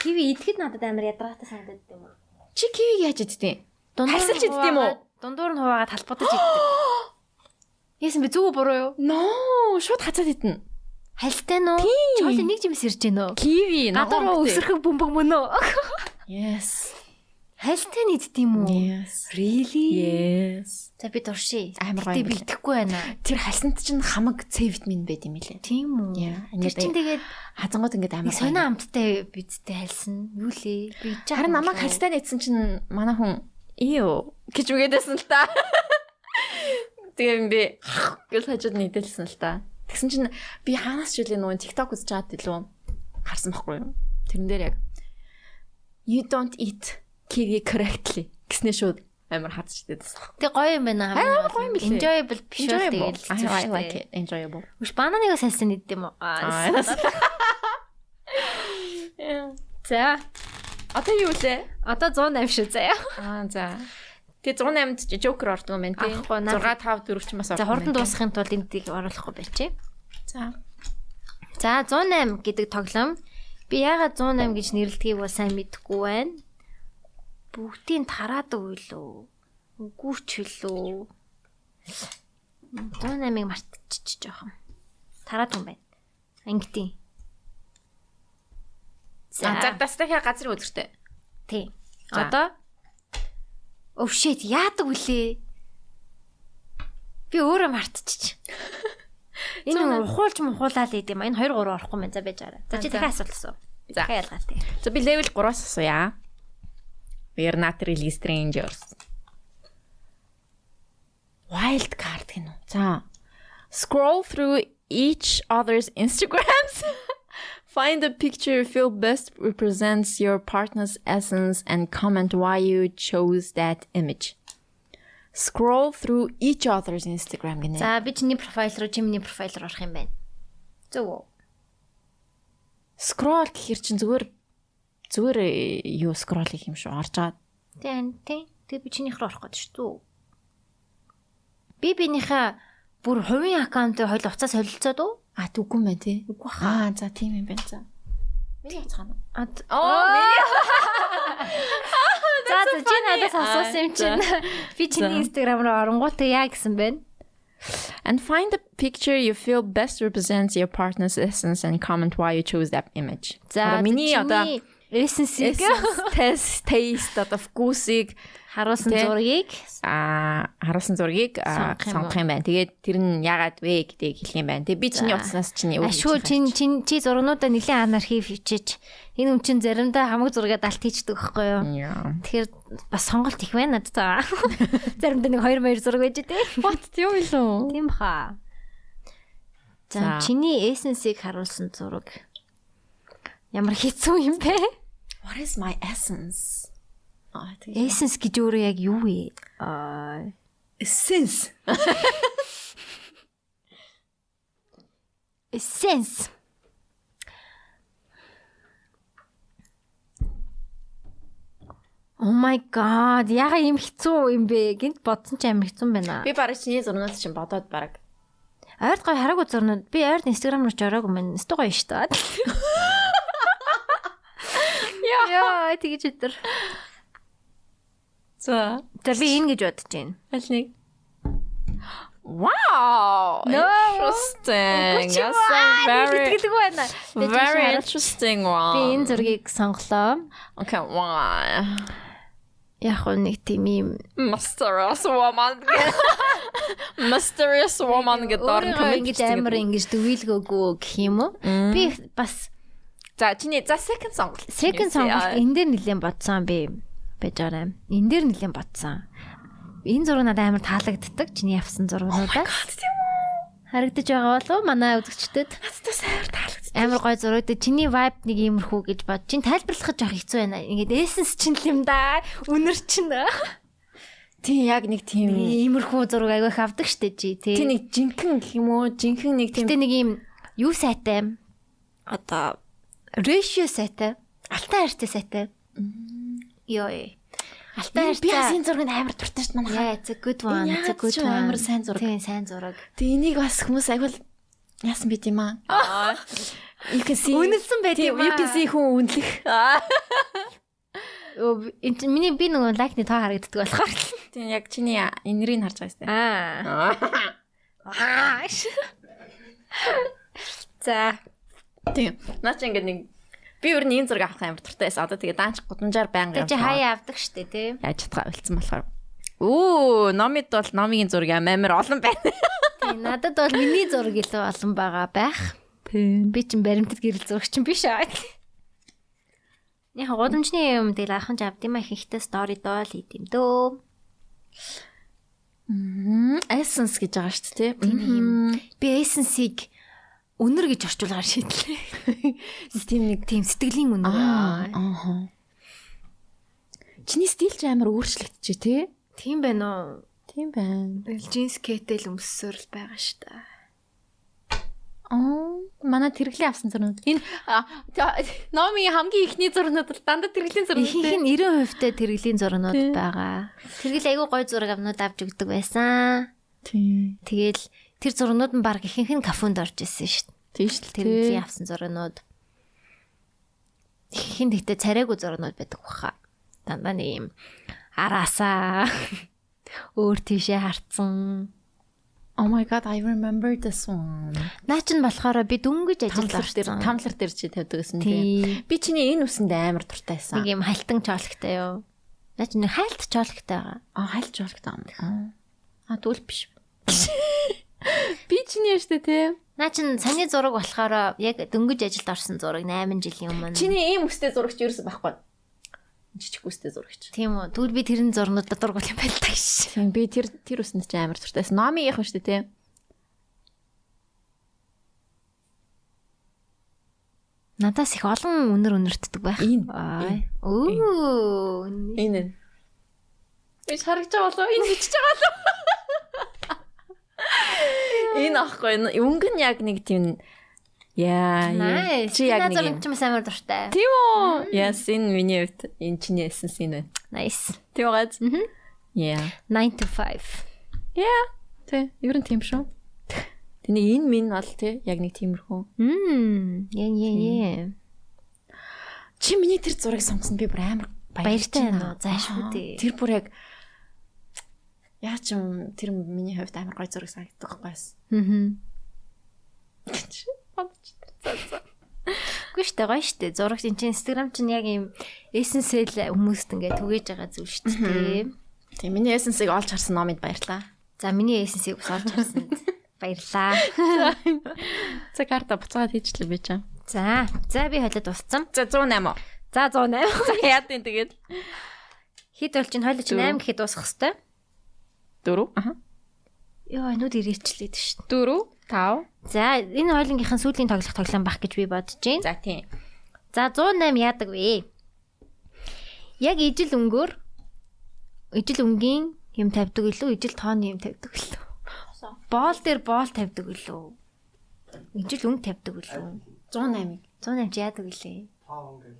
A: Киви идэхэд надад амар ядаргаатай санагдаад юм аа.
C: Чи кивиг яаж идтiin? Харсалж иддэг юм уу?
A: Дундуур нь хуваагаад талбуудаж иддэг. Яасан бэ зүг буруу юу?
C: No, шууд хацаад идэн.
A: Хальтай нь уу? Чоолын нэг жимс ирж гэнэ үү?
C: Киви
A: Гадаруу өсөрхөг бөмбөг мөн үү?
C: Yes.
A: Хальтай нь иддэг юм уу?
C: Yes.
A: Really?
C: Yes.
A: За би дуршия.
C: Амар гоё
A: Гэтэ
C: юм
A: би
C: билээ.
A: идэхгүй байна.
C: Тэр хальсанд чинь хамаг С витамин байд юм лээ.
A: Тийм үү?
C: Яа,
A: Тэр
C: ингээд
A: чинь тэгээд
C: Хазангууд ингээд амар.
A: нэг сонио амттай бидтэй хайлсан. Юу лээ? Би жаахан
C: Харин намайг
A: болов.
C: хальстай нэгсэн чинь манай хүн ийо гэж үгээдсэн л та. Тэгээ юм би гэж хажууд нийтэлсэн л та. Тэгсэн чинь би хаанаас ч үлээ нөгөө TikTok үзэж чаад илүү харсан байхгүй юу? Тэрэн дээр яг you don't eat kiwi correctly гэснээр шууд амар хатчихдээсэн.
A: Тэг гоё юм байна.
C: Харин амар гоё юм билээ.
A: Enjoyable биш үү?
C: Enjoyable.
A: Тэгээд хэцүү
C: I
A: шүү
C: like
A: дээ.
C: it. Enjoyable.
A: Үш бананыг бас хайлсан идэх юм уу? Аа.
C: [laughs]
A: За.
C: Одоо юу вэ?
A: Одоо 108 шүү заяа.
C: Аа за. Тэгээ 108-д ч Joker ордог юм байна тий.
A: Аахгүй,
C: 6
A: наад-
C: 5 4 ч бас ордог.
A: За хурдан
C: юм байна, тий.
A: дуусгахын тулд эндийг оруулахгүй байчи.
C: За.
A: За 108 гэдэг тоглоом. Би яагаад 108 гэж нэрлэдгийг бол сайн мэдэхгүй байна. Бүгдийг тараад өгөө лөө. Үгүй ч үлээ. 108-ыг мартчихчих жоохон. Тараад хүм байна. Ангитийн.
C: Загтастайхаа газар үлгэртэй.
A: Тий.
C: За.
A: Одоо өвшөөд яадаг үлээ. Би өөрөө
C: [laughs]
A: мартчих. Энэ ухуулж мухуулаад идэв юм. а. Энэ 2 3 орохгүй юм байна. за байж арай. За чи
C: За, за.
A: дахиад асуулт асуу.
C: За.
A: Дахиад ялгаатай.
C: За би level 3-аас асууя. We are not really strangers. Wild card гэнэ үү? За.
D: Scroll through each other's Instagrams. [laughs] Find the picture you feel best represents your partner's essence and comment why you chose that image. Scroll through each other's Instagram гинэ.
A: За би чиний профайл руу чимний профайл руу орох юм байна. Зөв үү?
D: Scroll гэхэр чинь зүгээр зүгээр э, юу scroll хийх юм шүү. Орж аваад
A: Тий, тий. Тэг би чинийх рүү орох гэдэг шүү дээ. Би бинийхээ бүр хувийн аккаунтыг хойл уцаа солилцоод уу?
D: А түггүй юм байна тий. Үгүй хаа. Аа за тийм юм байна за. Миний уцхан.
A: Аа. миний. За за чи надаас асуусан юм чинь. [laughs] Би чиний инстаграм руу оронгуут яа гэсэн бэ?
D: And find the picture you feel best represents your partner's essence and comment why you chose that image. Одоо миний одоо
A: эссенсийг
D: [laughs] essence, taste, taste одоо вкусыг
A: [laughs] харуулсан
D: Тэ.
A: зургийг
D: аа харуулсан зургийг аа,
A: Сонгох юм уу?
D: сонгох юм байна. Тэгээд тэр нь ягаад вэ гэдгийг хэлэх юм байна. Тэгээд би чиний утаснаас чиний юу
A: Ашгүй чин чин чи зургнуудаа нэлийн анархив хийчих. Энэ юм чин заримдаа хамаг зургаад алт хийчихдэг байхгүй юу? Тэгэхээр бас сонголт их байна
D: [laughs]
A: надад. та. Заримдаа нэг 2 2 зураг байж тээ.
D: What тийм үү?
A: Тийм баха.
D: За.
A: За чиний эссенсийг харуулсан зураг. Ямар хэцүү юм бэ?
D: What is my essence? Аа тийм.
A: Эссенс гэж өөрөө яг юу вэ? Аа [laughs]
C: Essence.
A: эссенс. Oh my god. Яга юм хэцүү юм бэ? Гинт бодсон ч амар хэцүү юм байна.
C: Би бараг чиний зурнаас чинь бодоод бараг.
A: Ойрд гоё хараагүй зурнууд. Би ойрд Instagram руу ч ороогүй мэн. Өстө гоё шүү дээ. Яа, тэгэж өдөр.
D: За.
A: За би энэ гэж бодож байна.
D: Аль нэг? Wow!
A: No.
D: Interesting. That's a very
A: Итгэлгүй байна.
D: very interesting one.
A: Би энэ зургийг сонглоо.
D: Okay, why?
A: Яг уу нэг тийм юм.
D: Mysterious woman. Mysterious woman гэдэг орн
A: Өөрөө ингэж амар ингэж дүвийлгөөгөө гэх юм уу? Би бас
D: За чиний за second сонголт.
A: second сонголт энэ дээр нэлээд бодсон би байж байгаа юм. Энэ дээр нэлээд бодсон. Энэ зураг надад амар таалагддаг. Чиний авсан зургуудаа. Харагдаж байгаа болов уу? манай үзэгчдэд?
D: Тэстэй сайн таалагдсан.
A: Амар гой зураг дээр чиний vibe нэг иймэрхүү гэж бод. Чин тайлбарлах гэж явах хэцүү байна. Ингээд essence чинь л юм да. Үнэр чинь.
C: Тийм яг нэг тийм.
A: Иймэрхүү зураг аявих авдаг штэ чи тий.
C: Тийм нэг жинхэнэ гэх юм уу? Жинхэнэ нэг тийм
A: Гэтэ нэг юм юу сайтай одоо ratio сайтай, алтай хайртай сайтай. Йой. Алтай
C: Би бас
A: хайртай.
C: энэ зургийг амар дуртай шүү дээ манай.
A: Yeah, it's a good one. It's
C: Энэ
A: a
C: яагаад
A: good
C: ч
A: one.
C: амар сайн зураг.
A: Тийм, сайн зураг.
C: Тэгээ энийг бас хүмүүс ахвал яасан байт юм аа. You can see.
A: Үнэлсэн байт
C: Э, Тийм,
A: юм аа.
C: You can see хүн үнэлэх.
A: Өө, энэ чинь Миний би нөгөө лайкны тоо харагддаг болохоор.
C: Тийм яг чиний энэрийг харж байгаа юм.
A: Аа.
C: [laughs]
A: Аа. За.
C: Тийм. Наа чи ингээд нэг би өөр нэг зураг авах амар дуртай байсан. Одоо тэгээ даанч гудамжаар байнга
A: Тэ чи хаяа авдаг штэ тий.
C: яаж чадгаа үлдсэн болохоор. Оо, номид бол номигийн зураг амар олон [laughs] байна.
A: Тий, Надад бол миний зураг илүү олон байгаа байх. Би чинь баримтат гэрэл зурагч юм биш аа. Яг годамжны юм дээр ахын ч авд юм а ихэнхдээ стори доол хийд юм дөө.
C: Essence гэж байгаа шүү дээ.
A: Тийм юм. Би эссенсийг үнэр гэж орчуулгаар шийдлээ.
C: Тийм нэг
A: Тийм сэтгэлийн үнэр.
C: Аа. Чиний стил ч амар өөрчлөгдөж тий.
A: Тийм байна уу?
C: Тийм байна.
B: Джинс кэтэл өмссөөр л байгаа шүү дээ.
C: Аа, манай тэрглийн авсан зурнууд. Энэ аа, тэ- номи хамгийн ихний зурнууд бол дандаа тэрглийн зурнууд.
A: Ихэнх
C: тий.
A: нь 90% та тэргэлийн зургнууд байгаа. Тэргэл айгүй гой зураг амнууд авч өгдөг байсан.
D: Тийм.
A: Тэгэл тэр зургнууд нь баг ихэнх нь кафунд орж исэн шүү дээ.
D: Тийш л
A: тэрний авсан зургнууд хин тэгтээ царайгүй зургнууд байдаг баха. Дандаа нэг юм араасаа [laughs] Өөр тийшээ харцсан.
C: Oh my god, I remember this one.
A: Наа чин болохоор би дөнгөж ажил
C: Тамлар дээр,
A: авсан.
C: тамлар дээр чи тавьдаг гэсэн
A: Тий.
C: тийм. Би чиний энэ үсэнд амар дуртай
A: Нэг
C: байсан.
A: юм халтан чоолхтой юу? Наа чин нэг хальт чоолхтой байгаа.
C: Аа, хальж болгохдоо. Аа, тэгвэл биш. [laughs] Би чиний яаш тээ.
A: Наа чин саний зураг болохоор яг дөнгөж ажилд орсон зураг 8 жилийн өмнө.
C: Чиний ийм үстэй зурагч юу гэсэн байхгүй. Жижиг үстэй зурагч.
A: Тийм үү. Тэгвэл би тэрэн зурнуудад дургуул юм байл та гэж.
C: Тийм би тэр тэр үсэнд чи амар дуртайсэн. Номи яах вэ штэ тий.
A: Надаас их олон өнөр өнөртдөг байх.
C: Ин.
A: Аа. Өө.
C: Энэ. Би харагч байгаа болов энэ хичж байгаа [laughs] болов. Энэ ахгүй н- өнгөн яг нэг тийм яа. яа.
A: Nice.
C: Чи яг
A: Надад
C: нэг юм.
A: ч бас амар дуртай.
C: Тийм үү? Яс энэ миний хувьд энэ чиний эсэнс энэ.
A: Nice.
C: Тийм гац.
A: Мгм.
C: Яа.
A: 9 to 5.
C: Яа. Тэ ер нь тийм шүү. Тэний энэ минь бол тий яг нэг тиймэрхүү.
A: Мм. Яа яа яа.
C: Чи миний тэр зургийг сонгосон би бүр амар
A: Баяртай байна
C: байна
A: уу? Заашгүй дээ.
C: Тэр бүр яг яа ч юм тэр миний хувьд амар гой зураг санагддаг байсан.
A: Хм.
C: гэж бодож байна.
A: Үгүй штэ гоё штэ. Зурагч энэ чинь Instagram чинь яг ийм эссенсэл хүмүүст ингээ түгэж байгаа зүйл штэ тий.
C: Тийм миний эссенсийг олж харсан номид баярлаа.
A: За миний эссенсийг бас олж авсан. Баярлаа.
C: За карта буцаад хийчлээ би чам.
A: За, за би хойлоо дууссан.
C: За 108.
A: За 108.
C: За яа тийм тэгээд
A: Хэд бол чинь хойлоо чинь 8 гэхэд дуусах хэвээр.
C: 4 аха
A: Йоо, нүд ирээчлээд штэ.
C: 4 5
A: За, энэ хойлонгийнхэн сүүлийн тоглох тоглоом бах гэж би бодож байна.
C: За тийм.
A: За 108 яадаг вэ? Яг ижил өнгөөр ижил өнгийн юм тавьдаг илүү, ижил тооны юм тавьдаг илүү. Боол дээр боол тавьдаг илүү. Ижил өнгө тавьдаг илүү.
C: 108-ыг.
A: 108 чи яадаг вэ?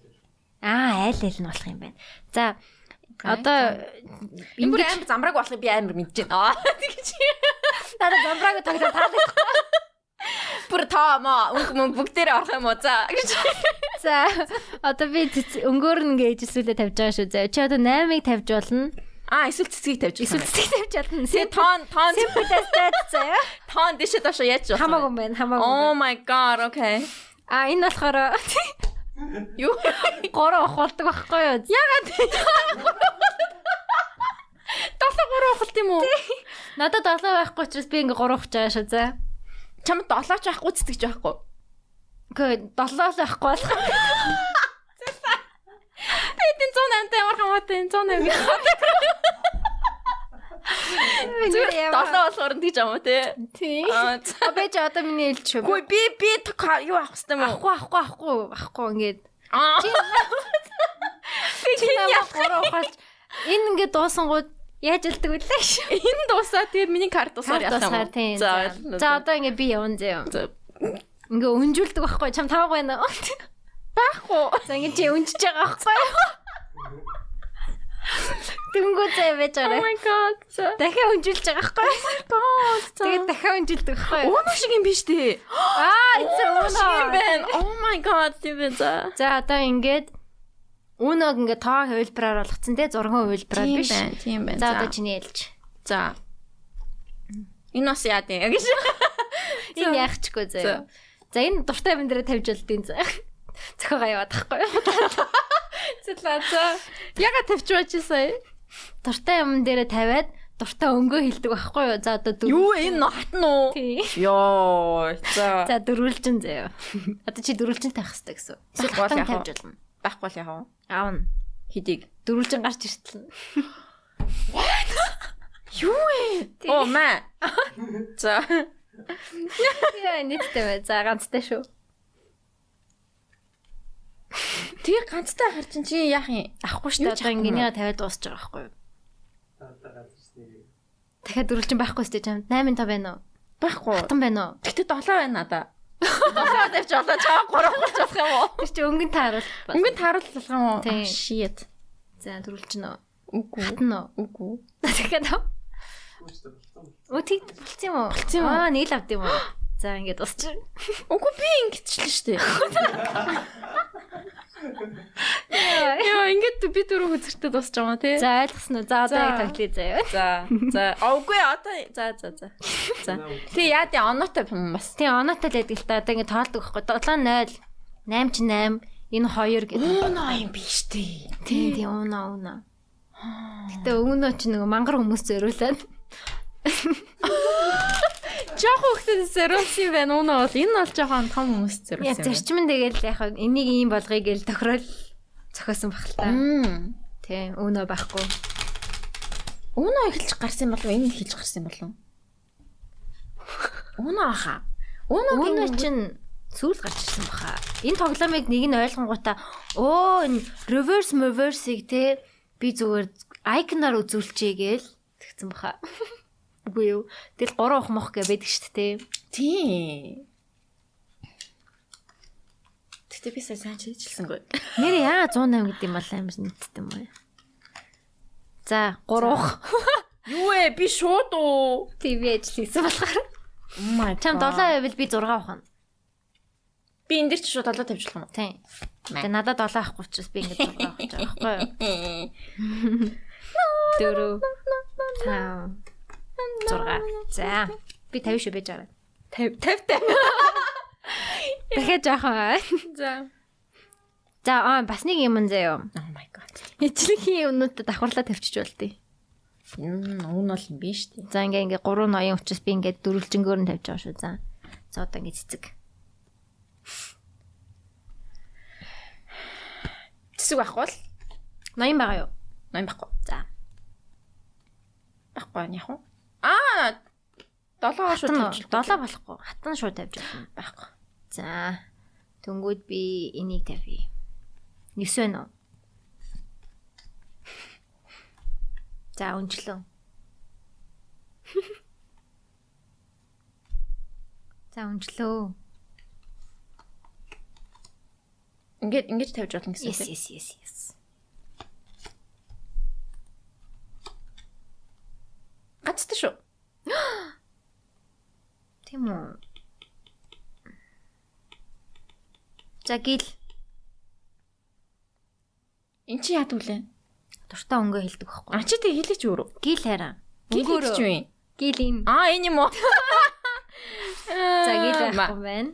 A: Аа, айл айл нь болох юм байна. За одоо
C: Энэ бүр амар замраг болохыг би амар мэдэж байна. Аа тэгэж.
A: надад замбрааг тоглох таалагдах.
C: Бүр тоомоо өнгө мөн бүгдээрээ орох юм уу? За гэж.
A: [laughs] За одоо би цэц- өнгөөр нь ингээ ижилсүүлээ тавьж байгаа шүү. За чи одоо 8-ыг тавьж болно.
C: Аа эсвэл цэцгийг тавьж.
A: Эсвэл цэцэг тавьж болно.
C: Тэ тон тон
A: Симплээс тавьж заяа.
C: тон дэше доошо яач вэ?
A: Хамаагүй юм байна, хамаагүй. юм байна.
C: Oh my god, okay.
A: А энэ болохоор
C: Юу?
A: гурав ахуулдаг байхгүй юу? Ягаад?
C: Долоо гурав хөлт юм уу?
A: Надад 7 байхгүй учраас би ингээ 3 ухаж байгаа шүү зэ.
C: Чам долооч ахгүй цэцгэж байхгүй.
A: Гэхдээ 7 л байхгүй болох.
C: Эдэн 108 та ямар хамаатай энэ 108. Долоо болохоор нь тэгж амуу те.
A: тий.
C: Аа. за.
A: Би ч одоо миний хэлж шүү.
C: Гүй би би ток- юу авах хэвтэй юм уу?
A: Ахгүй ахгүй ахгүй ахгүй ингээд
C: Аа.
A: чи намайг 3 ухаж энэ ингээ дуусан гууд яаж илдэг үлээ шүү.
C: Энэ дуусаа тэгээ миний карт дуусаар
A: Тусгаар
C: яасан
A: тий.
C: юм.
A: За за одоо ингээ би явна зэ. Ингээ өнжүүлдэг байхгүй чам тааг байна. [laughs] уу?
C: байхгүй.
A: За ингээ чи өнжиж байгаа байхгүй юу? [laughs] Дүнгүү зэ байж
C: Oh
A: байгаа.
C: my god. За.
A: Дахиад өнжилж байгаа байхгүй. Тэгээд дахиад өнжилдэг байхгүй.
C: [laughs] Өөмөг шиг юм биш тий.
A: Аа, эцэг
C: Өөмөг шиг юм байна. Oh my god. Тийм за.
A: За одоо ингээд үнэг ингээд тоо хувилбараар болгоцсон те зургийн хувилбараар биш.
C: тийм байна.
A: За одоо чиний ээлж.
C: За. Энэ бас яа тийм. Гэж.
A: Энэ яахчгүй заяа. За энэ дуртай биндрээ тавьж болдгийн [laughs] за. Цохиогоо яваад байхгүй.
C: [laughs] Цэлээ за. Яга тавьчихваач сая.
A: Дуртай юм дээрээ тавиад дуртай өнгөө хилдэг байхгүй юу? За одоо дөрв.
C: Юу энэ нотн уу?
A: Тий.
C: Йоо. За.
A: За дөрвөлжин заяа. Одоо чи дөрвөлжин тавих хэрэгтэй гэсэн. үг. Эсвэл
C: Байхгүй бол
A: хатан тавьж болно.
C: яах вэ? Байхгүй л яах вэ?
A: Аавна.
C: Хидийг.
A: Дөрвөлжин гарч иртлээ.
C: Юу вэ? Оо [laughs] маа. За.
A: Яа, нийттэй бай. За ганцтай шүү.
C: Тэгээ ганцтай ахар чин чи яах юм?
A: Авахгүй шүү дээ. Одоо ингээнийг тавиад дуусч байгаа байхгүй юу? Дахиад дөрвөлжин байхгүй сте чамд 8 5 байна уу?
C: Байхгүй.
A: Хатан байна уу?
C: Гэтэ 7 байна надаа. 7 тавьчих болоо чам 3 болж болох юм уу?
A: Тэр чи өнгөнд тааруул.
C: Өнгөнд тааруулах болох юм уу?
A: Тийм.
C: Ah, Shit.
A: За дөрвөлжин үү?
C: Үгүй.
A: Хатан уу? [laughs]
C: Үгүй.
A: Дахиад уу? Үгүй тийм болц юм уу? Болц
C: юм уу?
A: Аа, нийл авд юм уу? [gasps] За ингээд дуусч.
C: Үгүй би ингэчлээ шүү дээ.
D: Яа, ингээд би дөрөв үзэртэй дуусч байгаа маа тий.
A: За ойлгосноо. За одоо яг тоглоё заяа.
D: За. За. Овгүй одоо за за за. За. Тий яа тий оноотой юм бас.
A: Тийм оноотой л ядгэл та одоо ингэ тоолдог байхгүй. 7 0 8 ч 8 энэ 2 гэдэг.
C: Уунаа юм биш тий.
A: Тийм тийм уунаа уунаа. Гэтэ өгнөө чи нэг мангар хүмүүс зөриулээд
D: Жохон хөхтөд зориулсан юм байна уунаа бол. Энэ бол жохон том хүмүүс
A: яа
D: зориулсан юм.
A: зарчим нь тэгэл яг хав энийг ийм болгоё гэж тохирол зохиосон багтал.
D: Мм.
A: Тийм өгнөө байхгүй.
C: Уунаа эхэлж гарсан болов энэ эхэлж гарсан болов. Уунаа хаа.
A: Өгнөө
C: Уунаа
A: чин сүүл гарч ирсэн баха. Энэ тоглоомыг нэг нь ойлгонгуудаа оо энэ reverse reverse-ийг те би зүгээр icon-аар үзүүлчихье гээл тэгсэн баха. Үгүй юу. Тэгэл гурван ухмах гэ байдаг шүү дээ те.
C: тий. Тэгтээ би сая сайн чийжилсэнгүй.
A: Нэр яа 108 гэдэг юм бол амар нийтд юм бай. За, гурвах.
D: Юу ээ би шууд уу.
A: ТВ ажил хийсэн болохоор.
C: Oh my god.
A: Чам 7 байвал би 6 авах нь.
C: би энэ дэр ч шууд олоо тавьж болох юм.
A: Тийм. Тэгээ надад 7 авахгүй учраас би ингэж 6 авах гэж байгаа байхгүй юу? [laughs] Дөрөв. Тав. Зурга. За. Би 50 шүү байж байгаа. 50 50. Дахиад жоохон.
D: За.
A: За, аа бас нэг юм заяа.
C: Oh my god.
A: Ижлэгийн юмнуудад давхарлаа тавьчих болтыг.
C: Мм, уун бол юм биш тий.
A: За ингээ ингээ 3 ноён учраас би ингээ дөрвөлжингөөр нь тавьж байгаа шүү. За. За одоо ингээ цэцэг.
C: Тэсэг байхгүй л.
A: Ноён байгаа юу?
C: Ноён байхгүй.
A: За.
C: Байхгүй нь яах вэ? Аа. Долоо шууд
A: Хатан
C: тавьж
A: уу? долоо болохгүй. Хатан шууд тавьж болно.
C: байхгүй.
A: За. Төнгүүд би энийг тавья. 9 байна уу? За, [laughs] өнчлөө. За, өнчлөө.
C: Ингээд ингэж тавьж болно гэсэн
A: Yes,
C: тий.
A: yes, yes, yes.
C: Гацтай шүү.
A: Тийм үү. За, гил
C: Эн чи яд үлээ.
A: дуртай өнгөө хэлдэг байхгүй.
C: А чи тэг хэлээч өөрөө.
A: Гил хараа.
C: Гэл хэлчих юм.
A: Гил энэ.
C: Аа, энэ юм уу?
A: За гил
C: Ма-
A: байхгүй юм байна.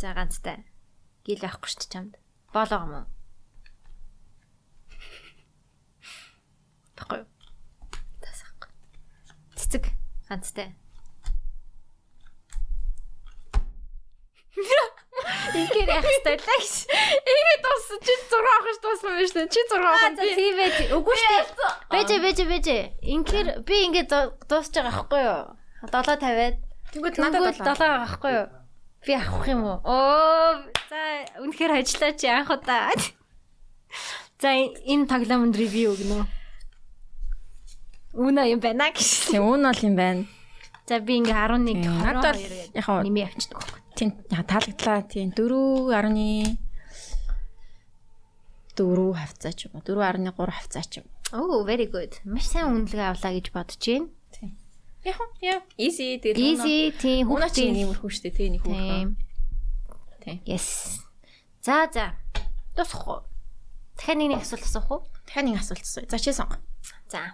A: За ганцтай. Гил байхгүй шүү дээ чамд. Боолоо юм уу? Баггүй. Тасахгүй. Цэцэг ганцтай. Ингээр яхстай л гэж.
D: Ингээд дууссан чи 6 авах ш дууссан байж тэн. Чи 6 авах.
A: За тийм байж. Үгүй шүү дээ. Бэж бэж бэж. Ингээр би ингээд зо- дуусч байгаа байхгүй юу? 7:50-аад
C: Тэгвэл
A: Надад 7
C: надад
A: байгаа байхгүй юу? Би авах юм уу? Оо, за үнэхээр ажиллаа чи анх удаа. За э- энэ тоглоомд ревю өгнө. Үнэ юм байна гэж.
D: Тийм уун бол юм байна.
A: За би ингээ 11
D: Тийм, надад бол
A: 22
D: яг
A: яг нэмээ авчдаг байхгүй.
C: тийм таалагдлаа тийм 4.1 4 хавцаа ч юм уу 4.3 хавцаа ч юм.
A: Оо, very good. Маш сайн үнэлгээ авлаа гэж бодож байна.
D: Яг уу, яа. Easy тэгэл.
A: Easy тийм
D: Уунаа чи
A: хүүхдийн.
D: иймэрхүү штэ тий нэг хүүхэн.
A: Тийм.
D: Тийм.
A: Yes. За за. Дуусах уу? Дахиад нэг нэг асуулт асуух уу?
C: Дахиад нэг асуулт асуу. За чи сонго.
A: За.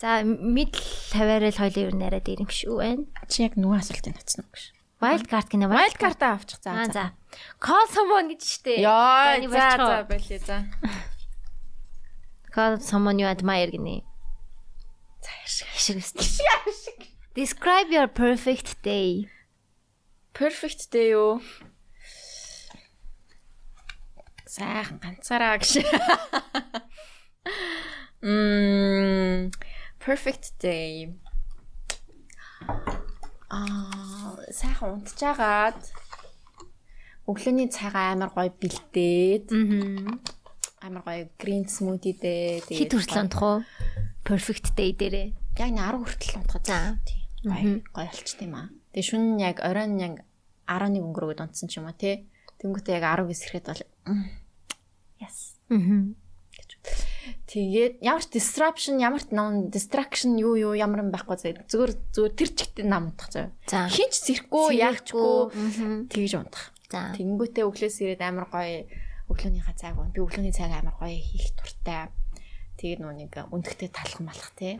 A: За мэдл тавиараа л хоёул ер нь яриад ирэм шүү байна.
C: Чи яг нөгөө асуултыг ноцно уу гэж.
A: Wild card гинэ
C: Wild card-аа авчих
A: Аа
C: за.
A: за. Call someone гэж штэ.
D: Яа, за
A: Зааны болчихоо.
D: за байлээ за.
A: Call someone you admire гинэ. За яшиг. Яшиг [laughs] үстэ. Яшиг. Describe your perfect day.
D: Perfect дээ юу.
C: Сайхан ганцаараа гэж. [laughs]
D: Мм. Perfect day.
C: Аа, сайхан унтжгаад өглөөний цагаа амар гоё бэлдээд
A: Аа.
C: амар гоё green smoothie дээ.
A: Хит хүртэл унтах уу? Perfect day дээрээ.
C: Яг нэг 10 хүртэл унтах
A: За.
C: Тийм. Гоё гоё болчих тийм аа. Тэгээ шүн нь яг оройн нь яг 11 өнгөрөөд унтсан ч юм уу тий. Тэнгүүтээ яг 10 гэсрэхэд бол м, Yes.
A: Аа.
C: Тэгээд ямар ч disruption, ямар ч нон distraction юу юу ямар юм байхгүй зэ. Зүгээр зүгээр тэр чигтээ нам унтах заяа.
A: За.
C: Хинч зэрэхгүй, яахчгүй
A: Мгм.
C: тэгж унтах.
A: За.
C: Тэнгүүтээ өглөөс ирээд амар гоё өглөөнийхөө цаг байна. Би өглөөний цаг амар гоё хийх туртай. Тэгээд нөө нэг өндөгтэй талхан малах тий.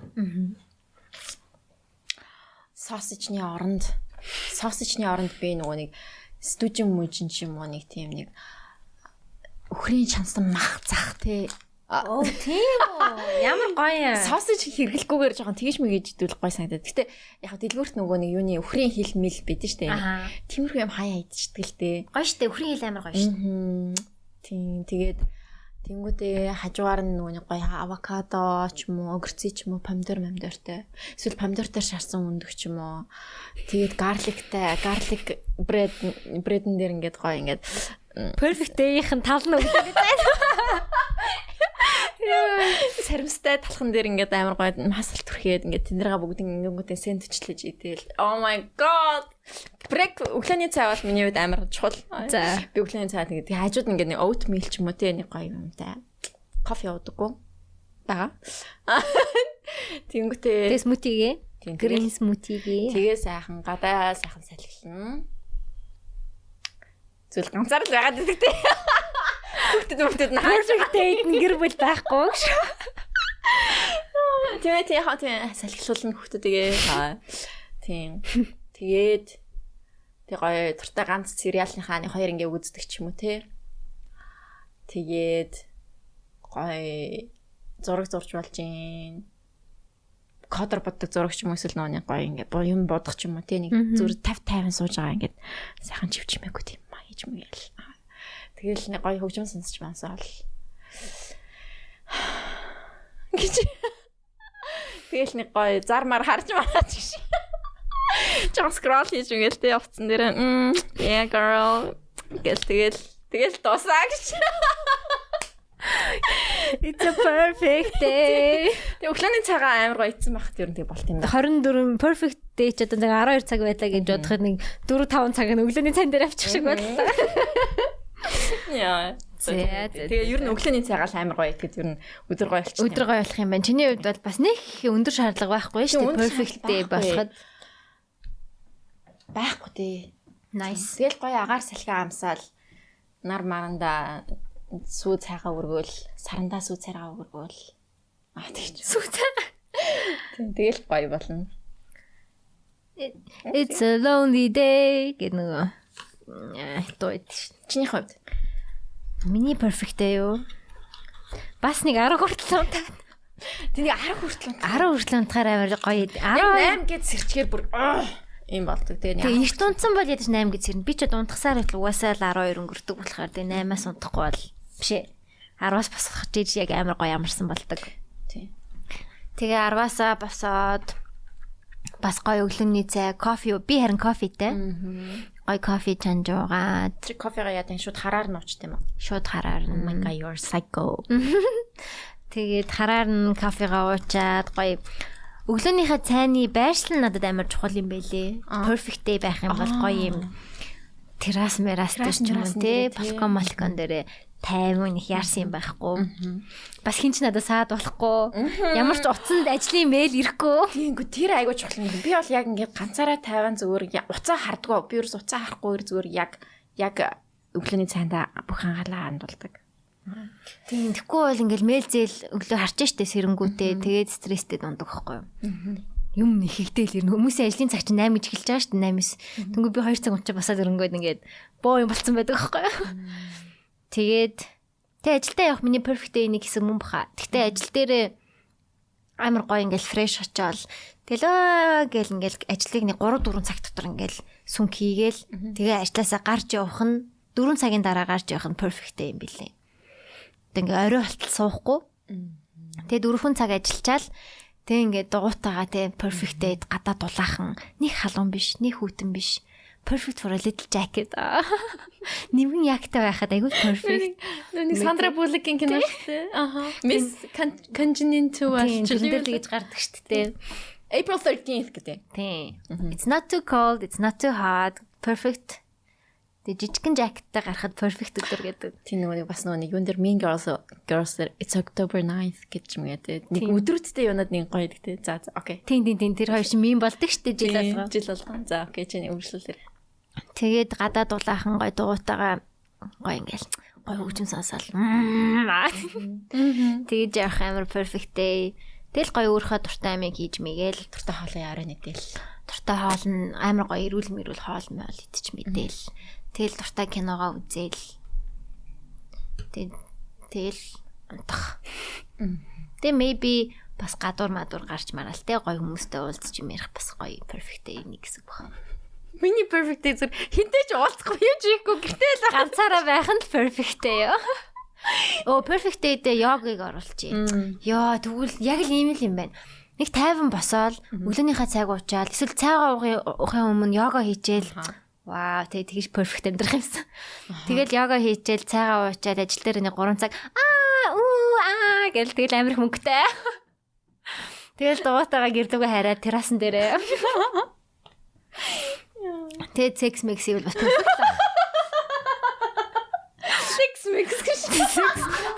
C: Сосижны оронд сосижны оронд би нөгөө нэг стужин мүжин ч юм уу нэг тийм нэг өхрийн чансан мах зах тий.
A: Оо тийм үү. Ямар гоё.
C: Сосиж хэрэглэхгүйгээр жоохон тэгж мэгэж идвэл гоё санагдаад. Гэтэ яг хав дэлгүүрт нөгөө нэг юуны өхрийн хил мэл бидэн штэ.
A: Аа.
C: Тиймэрхүү юм хаяа идчихдгэлтэй.
A: Гоё штэ. Өхрийн хил амар гоё штэ.
C: Тийм тэгээд тэнгуүтэй хажуугаар нь нөгөө нэг гоё авокадо ч юм уу, огурци ч юм уу, помидор, помидортай. Эсвэл помидортай шарсан өндөг ч юм уу. Тэгээд гарликтай, гарлик брэд брэдэн дээр ингээд гоё ингээд
A: Perfect Day-ийн тал [laughs] нь өгдөг.
C: саримстай талхан дээр ингээд амар гоё масал түрхээд ингээд тэндэрга бүгд ингээд сэндвичлэж идэл. Oh my god. Брэк өглөөний цай бол миний хувьд амар чухал.
D: За.
C: Би өглөөний цай тэгээд тэгээд хажууд нь ингээд нэг oat meal ч юм уу тийм нэг гоё юмтай. Кофе уудаггүй. [laughs] Бага. Тэнгүүтээ
A: Тэгээ смутигээ.
C: Тийм,
A: Green smoothie-гээ.
C: тэгээ сайхан гадаа сайхан салхилна. Зүйл ганцаар л байгаад байдаг [laughs] тийм. Хүүхдүүд хүүхдүүд наа.
A: Perfect Day-д гэр бүл байхгүй гэж.
C: Тийм ээ, тийм хаа тийм салхилуулна хүүхдүүдээ. Аа. Тийм. Тэгээд тэг гоё туртай ганц сериалынхаа нэг хоёр ингээ үздэг ч юм уу те. Тэгээд гоё зураг зурж болж юм. Кадр боддог зураг ч юм уу эсвэл нөө нэг гоё ингээ бо- юм бодох ч юм уу те. Нэг зүр 50 50 сууж байгаа ингээ сайхан чивчмээгүй тийм маяг ч юм ял. Тэгээл нэг гоё хөгжим сонсч мансаа бол [sighs] гэж. Тэгэл нэг гоё зармаар харж мараач гэж. Жон скрол хийж ингээл тэ утсан дээр мм yeah girl гэл тэгэл тэгэл дуусаа гэж.
A: It's a perfect day.
C: Тэг өглөөний цагаан амар гоё ицсэн байхад ер нь тэг болт юм да.
A: 24 perfect day ч одоо нэг 12 цаг байлаа гэж бодоход нэг 4 5 цаг нь өглөөний цан дээр авчих шиг боллоо.
C: Яа.
A: Зэ, зэ,
C: Тэгээ ер нь өглөөний цагаан л амар гоё тэгэд ер нь өдөр гоё болчих.
A: Өдөр гоё болох юм байна. Чиний хувьд бол бас нэг их өндөр шаардлага байхгүй шүү дээ.
C: Тийм, өндөр
A: Perfect
C: шаардлага
A: day
C: байхгүй.
A: болоход
C: байхгүй тий.
A: nice.
C: Тэгэл гоё агаар салхиа амсаал нар маранда сүү цайгаа өргөөл, сарандаа сүү цайгаа өргөөл. Аа тэгч. Сүү цай. Тэгэл гоё болно.
A: It's a lonely day гэдэг нөгөө аа, дуйд шүү.
C: Чиний хувьд?
A: Миний perfect day юу? Бас нэг 10 хүртэл унтаа.
C: Тэний 10 хүртэл
A: 10 хүртэл унтахаар амар гоё. 10
C: 8 гэж сэрчгээр бүр юм болдог тийм
A: Тэгээ
C: яа.
A: эрт унтсан бол ядаж 8 гэж хэрнэ. Би ч одоо унтахсаар их угаасаа л 12 өнгөрдөг болохоор тэгээ 8-аас унтахгүй бол биш ээ. 10-аас босгох гэж яг амар гоё амарсан болдог.
C: Тийм.
A: Тэгээ 10-аас босоод бас гоё өглөөний цай, кофе. Би харин кофетэй. Гоё кофе чанж уугаад
C: Чи кофега яа тань шууд хараар нь ууч тийм үү?
A: шууд хараар нь
C: My god you're psycho.
A: [laughs] Тэгээд хараар нь кофега уучаад гоё өглөөнийхөө цайны байршил нь надад амар чухал юм байлээ. Perfect day байх юм бол гоё юм. Террас мерас
C: Террас,
A: дээр ч юм
C: мерас
A: уу тий,
C: дээр, тий.
A: балкон балкон дээрээ тайван их яарсан юм байхгүй. Бас хинч надад саад болохгүй. Ямар ч утсанд ажлын мэйл ирэхгүй.
C: Тийм гоо тэр айгуу чухал юм. Би бол яг ингээд ганцаараа тайван зүгээр я- уцаа хардгаа. Би ерөөс уцаа харахгүй зүгээр яг яг өглөөний цайнда бүх анхаалаа хандуулдаг.
A: Тийм тэгэхгүй бол ингээл мэйл зээл өглөө харж штэ сэрэнгүүтээ тэгээд стресстэй дундаг байхгүй юу? юм нэхэгдээл ирнэ. Хүмүүсийн ажлын цаг чинь 8 гэж эхэлж байгаа шүү дээ 8-9. Тэнгүү би 2 цаг унчаа басаад өрөнгөөд ингээд боо юм болцсон байдаг аахгүй юу? Тэгээд тэг ажилдаа явах миний perfect day нэг хэсэг мөн баха. Тэгтээ ажил дээрээ амар гоё ингээд фрэш очоод тэгэл аа гэл ингээд ажлыг нэг 3 4 цаг дотор ингээд сүнг хийгээл тэгээ ажилласаа гарч явах нь 4 цагийн дараа гарч явах нь perfect day юм билээ. Тэг ингээд орой болтол суухгүй. Тэгээ дөрвөн цаг ажиллачаал тэг ингээд дугуйтагаа тэг perfect day гадаа дулаахан нэг халуун биш, нэг хүүтэн биш. Perfect for a little jacket. [laughs] Аа. Нимгэн ягтай байхад айгүй perfect.
D: Нэг Сандра Булликийн кино шүү дээ. Аха. Miss Congenial
A: Тийм, тэрэн дээр л гэж гардаг шүү дээ.
C: April 13th гэдэг.
A: Тийм. It's not too cold, it's not too hot. Perfect. Тэг жижигхэн жакеттай гарахад perfect өдөр гэдэг.
C: Тийм нөгөө нэг бас нөгөө нэг юун дээр Mean Girls Girls дээр It's October 9th гэж юм гэдэг. Нэг өдрүүдтэй юунад нэг гоё гэдэг. За за окей.
A: Тийм тийм тийм тэр хоёр шин мим болдог шүү дээ жил
C: Жил
A: болгоо.
C: болгоо. Жил болгоо. За окей. Чиний өвчлөл дээр.
A: Тэгээд гадаад улаахан гой дугуйтайгаа гой ингээл гой хөгжим сонсоол. мм, аа. Тэгээд явах амар perfect day. Тэгэл гой өөрийнхөө дуртай амийг хийж мэгээл
C: Туртай хоолын арай нэг дээл.
A: дуртай хоол нь амар гоё эрүүл мэрүүл хоол мөөл идчих мэдээл. Тэгэл дуртай киногоо үзээл. Тэг- Тэгэл унтах. Тэг maybe бас гадуур мадуур гарч мараал те гоё хүмүүстэй уулзч юм ярих бас гоё perfect day нэг гэсэн бохоо.
C: Миний perfect day зүр хинтэй ч уулзахгүй юу ч ихгүй гэртэл.
A: Ганцаараа байх нь perfect day ёо. Оо perfect day-дээ йогийг оруулчих. Йоо тэгвэл яг л ийм л юм байна. Нэг тайван босоод өглөөнийхөө цайг уучаал эсвэл цайгаа уухийн уухын өмнө йога хийчихэл Вау, тэгээ тэгж perfect амьдрах юмсан. Тэгэл йога хийчихэл цайгаа уучаад ажил дээр нэг 3 цаг аа уу аа гэл тэгэл амирх мөнгөтэй. Тэгэл дугуйтайгаа гэрлүүгээ хараад террасн дээрээ. Тэгээ sex mix ивэл бас perfect
C: Six mix гэж.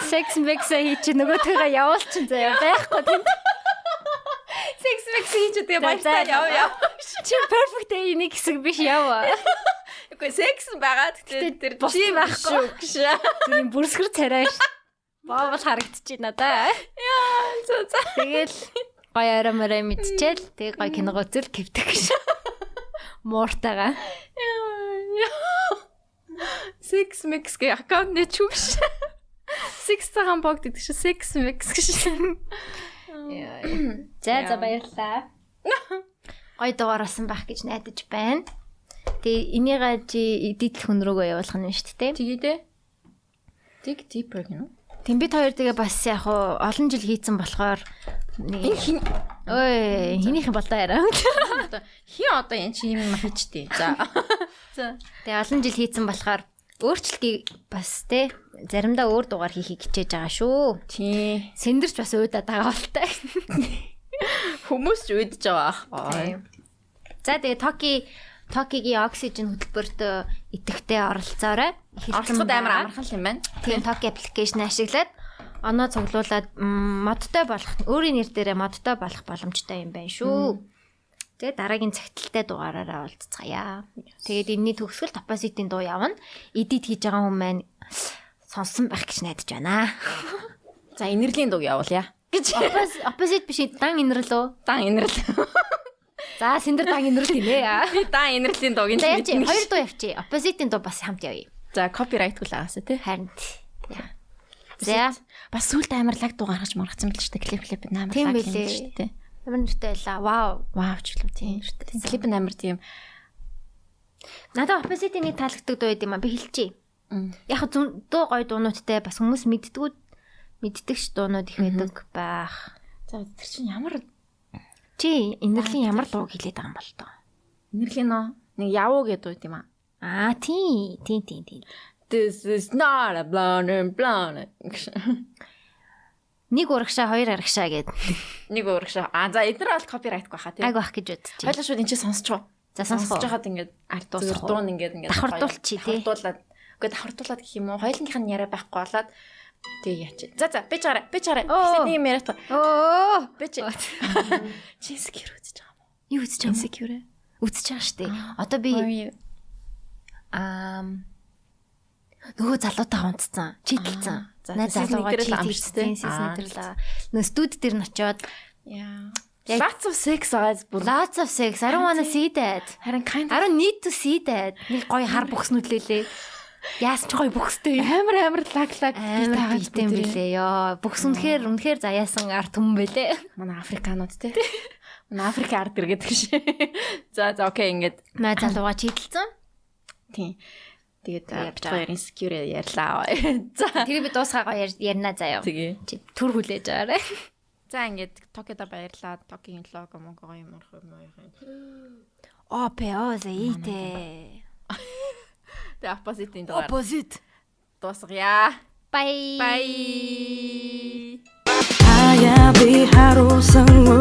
A: Sex mix хийчих нөгөө төгөө явуулчин заяа байхгүй тийм.
C: Six mix хийж тэгээ баяртай
A: За, за,
C: яв
A: за.
C: яв.
A: Чи perfect day нэг хэсэг биш яв.
C: Үгүй секс байгаа гэхдээ тэр
A: бус
C: чи
A: байхгүй.
C: байхгүй гэж.
A: Зүний бүрсгэр царай ш. Боовол харагдчих надаа.
C: За за.
A: Тэгэл гоё орой морой мэдчихэл тэг гоё кино үзэл кивдэг ш. Мууртайгаа.
C: Six mix гэх аккаунт нэ чүгш. Six цагаан бог гэдэг чи six mix гэж.
A: За за баярлаа. Гоё дугаар болсон байх гэж найдаж байна. Тэг энийгээ чи эдитл хүн рүүгээ явуулах нь шүү дээ.
C: Тэгээд ээ. Dig deeper гэнэ.
A: Тэмбит хоёр тэгээ бас яг хуу олон жил хийцэн болохоор нэг ой хинийхэн болоо яриа.
C: Хин одоо энэ чи юм хийчтэй. За. За.
A: Тэгээ олон жил хийцэн болохоор өөрчлөлгийг бас те заримдаа өөр дугаар хийхийг хичээж байгаа шүү.
C: Тий.
A: Сэндэрч бас уудаад байгаа болтой.
C: Хүмүүс ч үдж байгаа.
A: За тэгээ Токи Токигийн оксижен хөтөлбөрт идэвхтэй оролцоорой.
C: Оролцоход амар амархан юм байна.
A: Тийм Токи аппликейшн ашиглаад оноо цуглуулад м, модтой болох өөрийн нэр дээрээ модтой болох боломжтой юм байна шүү. Тэгээ дараагийн цагталтай дугаараараа уулзцаая. Тэгээд энэний төгсгөл Topacity-ийн дуу явна. Edit хийж байгаа хүмүүс маань сонсон байх гэж найдаж байна.
C: За инэрлийн дуг явуулъя.
A: Гэж Opposite биш дан инэрлөө.
C: Дан инэрл.
A: За Синдер дан инэрл гинэ.
C: Би дан инэрлийн дуг
A: За яач
C: энэ.
A: хоёр дуу явчих. Opposite-ийн дуу бас хамт явъя.
C: За копирайт хүлээгээсэ тий.
A: Харин. За.
C: Бас сүлд амарлаг дуу гаргаж маргацсан билээ шүү дээ. Клип клип амар
A: Тийм
C: лаг юм
A: билээ.
C: шүү дээ.
A: Ямар нэртэй байлаа. Вау.
C: Вау ч лөө тийм шүү дээ. Клип нь амар тийм.
A: Надад opposite-ийн нэг таалагддаг дуу байд юм аа. Би хэлчихье.
C: Мм.
A: Яг ха зүүн дуу гой дуунуудтай бас хүмүүс мэддгүү мэддэгч дуунууд их байдаг байх.
C: За тэр чинь ямар
A: Чи инэрлийн ямар дуу хэлээд байгаа юм бол тоо.
C: инэрлийн нөө? Нэг явуу гэдэг үү тийм аа.
A: Аа тий, тий, тий, тий.
C: This is not a blonde and blonde.
A: Нэг урагшаа, хоёр арагшаа гэд
C: Нэг урагшаа. А за эдгээр бол копирайт байхаа тийм.
A: аг байх гэж бодчих.
C: Хойлоо шууд энэ чинь сонсч уу?
A: За, сонсох уу?
C: Сонсож хаад ингээд ард
A: Дуусах
C: дуусах
A: уу?
C: дуун ингээд ингээд
A: Давхардуулчих, тий.
C: Давхардуулаад. Үгүй давхардуулаад гэх юм уу? Хойлынх нь яриа байхгүй болоод тэгээ яач. За за би чараа. Би чараа.
A: Оо.
C: Эхлээд нэг юм яриа таа.
A: Оо,
C: Би чи. [laughs] Чинс гэр үзэж байгаа юм.
A: юу үзэж байгаа юм?
C: Secure.
A: Үзэж байгаа штэ. Одоо би аа нөгөө залуутай хонцсон, чийтэлсэн.
C: За,
A: Найз
C: сизник
A: залуугаа
C: дээр л амжсан, тий?
A: чийтэлсэн,
C: Аа.
A: сиснэтэрлээ. Нөө студ дээр нь очиод
C: Яа.
A: Яг-
C: Lots of sex guys бүр.
A: Lots of sex. I don't want to see that.
C: Харин kind
A: I don't need to see that. Нэг гоё хар бөхснүүлээ. Яасан ч гоё бөхстэй.
C: амар амар лаг лаг
A: Амар бийтэй юм билээ ёо. Бөхснөхээр үнэхээр заяасан арт хүм бэлээ.
C: Манай африканууд [laughs] те. Манай африк ард ир гэдэг шээ. [laughs] За за окей ингээд
A: Наа залууга чийдэлсэн.
C: тий.
A: Тэгээд
C: Тэгээд бит хоёрын secure ярьлаа. [laughs] За
A: Тэр би дуусгаа гоё яр- ярина заяа.
C: тэгээ.
A: Чи Түр хүлээж байгаарэ.
C: За ингээд Токиодо баярлаа. Токигийн лого монгоо юм орох юм уу юм.
A: ОПО зэйтэй.
C: Тэгээ opposite-ийн дугаар
A: Опозит.
C: дуусгая.
A: Бай.
C: Bye.
E: Haya bir harusan